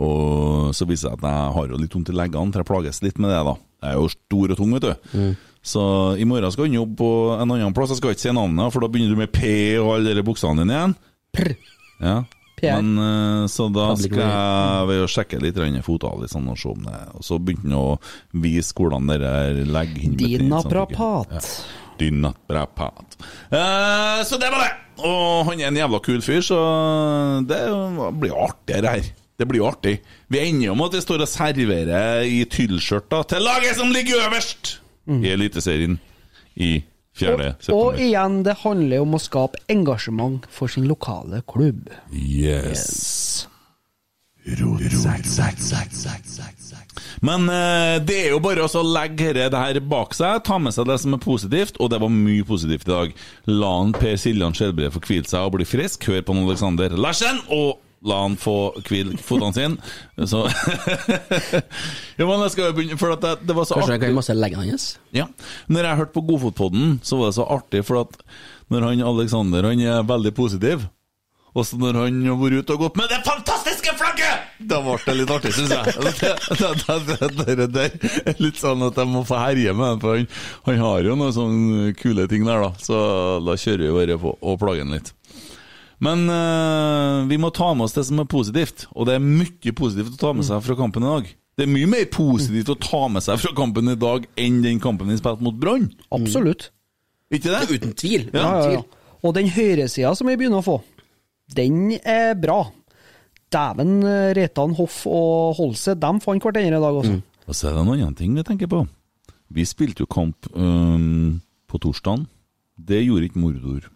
Og så viser det seg at jeg har jo litt vondt i leggene, for jeg plages litt med det, da. Jeg er jo stor og tung, vet du. Så i morgen skal han jobbe på en annen plass, jeg skal ikke si navnet, for da begynner du med P og alle de buksene dine igjen.
Prr.
Ja.
PR.
Men eh, Så da
Public
skal jeg ved å sjekke litt grann fotavlig sånn, og se om det Og så begynte han å vise hvordan det der legger inn
sånn Dinaprapat.
Dinaprapat. Eh, så det var det! Og han er en jævla kul fyr, så det blir jo artigere her. Det blir jo artig. Vi ender jo med at vi står og serverer i tyllskjørta til laget som ligger øverst i Eliteserien i fjerde
Mm. Og
september.
igjen, det handler om å skape engasjement for sin lokale klubb.
Yes. Men eh, det er jo bare også å legge dette- det her bak seg, ta med seg det som er positivt, og det var mye positivt i dag. La han Per Siljan Skjelbre få hvile seg og bli frisk, hør på han Alexander Larsen, og la han få hvile fotene sine. Så Jo, men jeg skal jo begynne, for at det, det var så
Kanskje
artig.
jeg kan masse leggen hans?
Ja. Når jeg hørte på Godfotpodden, så var det så artig, for at når han Alexander han er veldig positiv, og så når han har vært ute og gått med det fantastiske flagget, da ble det litt artig, syns jeg. Det, det, det, det, det der er litt sånn at jeg må få herje med den, for han, han har jo noen sånne kule ting der, da. Så da kjører vi bare på og plager han litt. Men eh, vi må ta med oss det som er positivt, og det er mye positivt å ta med seg fra kampen i dag. Det er mye mer positivt å ta med seg fra kampen i dag enn den kampen vi spilte mot Brann.
Absolutt.
Ikke det?
Uten tvil.
Ja,
Mm. Ja, ja, ja. Og den høyresida som vi begynner å få, den er bra. Dæven, eh, Reitan, Hoff og Holse, de fant hverandre i dag også.
Og så er det en annen ting vi tenker på. Vi spilte jo kamp øhm, på torsdagen. Det gjorde ikke Mordor.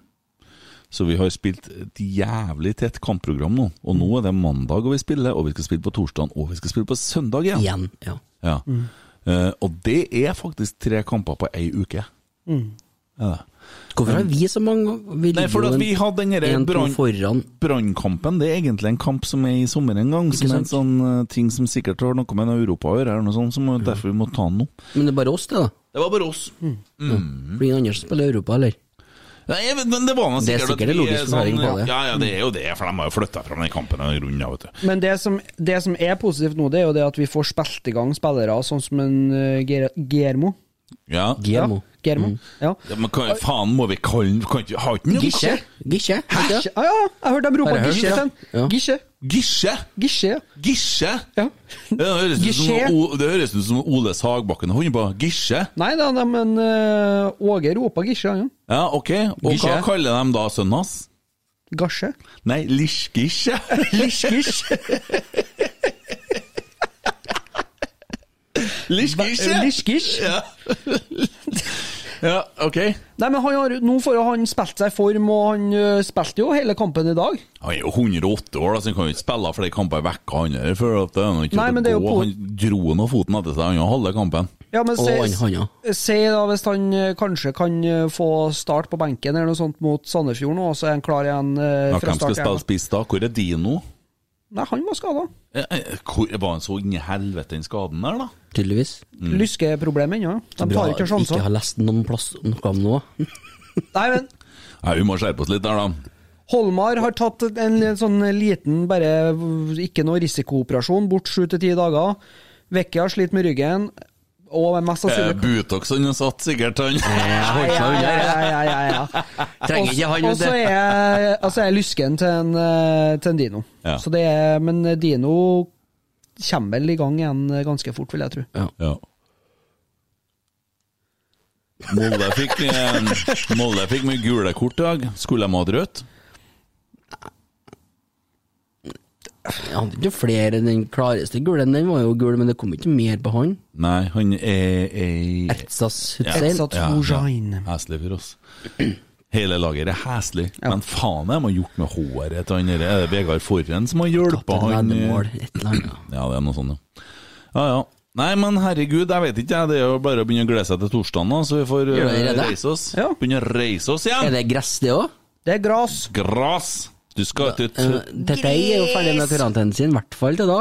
Så vi har spilt et jævlig tett kampprogram nå. Og nå er det mandag og vi spiller, og vi skal spille på torsdagen, og vi skal spille på søndag igjen.
Igjen, ja.
Ja.
Mm.
Eh, og det er faktisk tre kamper på ei uke.
Mm.
Ja.
Hvorfor har vi så mange?
Nei,
Vi ligger
for
jo
at
en-
vi hadde den derre
en, to
brann-
foran.
Brannkampen det er egentlig en kamp som er i sommer en gang, som er en sånn eh, ting som sikkert har noe med Europa å gjøre, eller noe sånt, som er derfor vi må ta den nå.
Men det er bare oss, det, da. Mm.
Det var bare oss.
Blir ingen andre som spiller i Europa, eller?
Nei, men- men det var nå
Det er
sikkert at
sikkert en
vi sånn,
logisk forklaring på det.
Ja, ja, det er jo det, for de har jo flytta fra den kampen av grunnen, ja, vet du.
Men det som, det som er positivt nå, det er jo det at vi får spilt i gang spillere, sånn som en eh, Ger Germo.
Ja.
Guillermo.
Ja, Germo. Mm. Ja.
Ja, men hva faen må vi kalle den? Kan ikke- Har ikke den
Gisje. Gisje.
Hæ? Ja, ja, jeg hørte dem rope
Bare hørt,
Gisje.
ja.
Sten.
Ja.
Gisje.
Gisje!
Gisje, ja.
Gisje!
Ja.
Ja, Det høres ut som,
Gisje.
O- det høres ut som Ole Sagbakken og hun på Gisje.
Nei da, da, men eh, Åge ropa Gisje, han. Ja.
Ja, ok. Og hva
Gisje.
kaller de da sønnen hans?
Gasje.
Nei, Lish-Gisje.
Lish-gisje.
Lish-Gisje!
Lish-gish.
Ja, ok.
Nei, men han har, nå får jo han spilt seg i form, og han eh, spilte jo hele kampen i dag.
Han er jo 108 år, da, så han kan jo ikke spille flere kamper i vekka. Han er for at det er noe ikke
Nei,
til
men
å
det er jo
gå.
på-
Han dro nå foten etter seg, han har halve kampen.
Ja, men
Og han
se,
handa.
se da hvis han eh, kanskje kan eh, få start på benken eller noe sånt mot Sandefjord nå, og så er han klar igjen eh,
Ja,
fra
hvem skal
start.
spille
igjen.
spiss da? Hvor er Dino?
Nei, han var skada.
Eh, eh, Hvor var han så inn i helvete den skaden der, da?
Tydeligvis.
Lyskeproblem ennå. De
Bra
tar ikke
ikke
sjanser.
har lest noen plass noe om noe.
Nei, men
Nei, Vi må skjerpe oss litt der, da.
Holmar har tatt en sånn liten, bare ikke noe risikooperasjon, bort sju til ti dager. Vekke har slitt med ryggen, og er mest
Eh,
sannsynlig
Butox han har satt, sikkert, han.
Jeg holdt meg
ja,
unna.
ja,
jeg.
ja, ja, ja.
Trenger ikke han
Og så er
det.
jeg, altså jeg er lysken til en, eh, til en Dino.
Ja.
Så det er, men Dino kommer vel i gang igjen ganske fort, vil jeg tro.
Ja. Molde fikk, eh, Molde fikk mye gule kort i dag. Skulle de hatt rødt?
Jeg hadde ikke flere enn den klareste gule. Den var jo gul, men det kom ikke mer på han.
Nei, han er ei
Ertsas Hussein.
Etsatt Hojain.
Heslig for oss. Hele laget er heslig, men faen er man gjort med håret til han der? Er det Vegard Forren som har hjulpet
På
han?
Mål, et eller annet.
Ja, det er noe sånt, ja. Ja, ja. Nei, men herregud, jeg vet ikke, jeg. Det er jo bare å begynne å glede seg til torsdagen, da, så vi får
Gjør det
eh,
allerede?
reise oss.
Ja.
Begynne å reise oss
Er
igjen!
det gress, det òg?
Det er gras.
Gras! Du skal ikke ut Ja,
Dette er jo ferdig med karantenen sin, i hvert fall til da.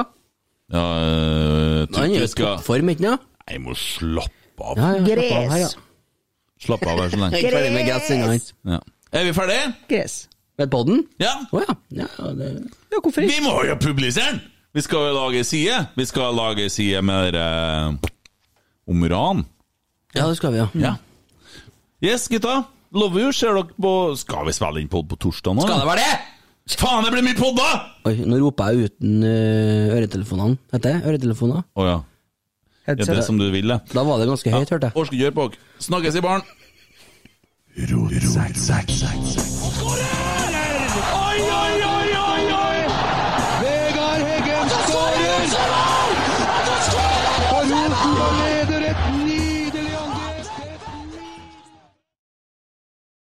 eh,
Han
tror
er
du
jo i
skal
toppform, ikke sant?
Jeg må slappe av.
Ja, ja, slapp av her, ja.
Gress.
Slapp av her så lenge.
Jeg er ikke ferdig med gress ennå. han.
Ja. Er vi ferdige?
Gress.
Med podden?
Ja?
Å ja. ja det...
Ja, hvorfor
Vi
ikke?
må jo publisere den! Vi skal jo lage side. Vi skal lage side med dere om ran.
Mm. ja, det skal vi, ja.
Ja. Yes, gutta. Lover jo, ser dere på Skal vi spille inn pod på torsdag nå?
Skal det være det?
Faen, det blir mye pod, da!
Oi, nå roper jeg uten eh, øretelefonene. Heter det øretelefoner?
Å ja. Er det som du vil, det?
Da var det ganske høyt, hørte jeg.
Orsker ikke høre på dere. Snakkes i baren.
Vegard Heggen skårer!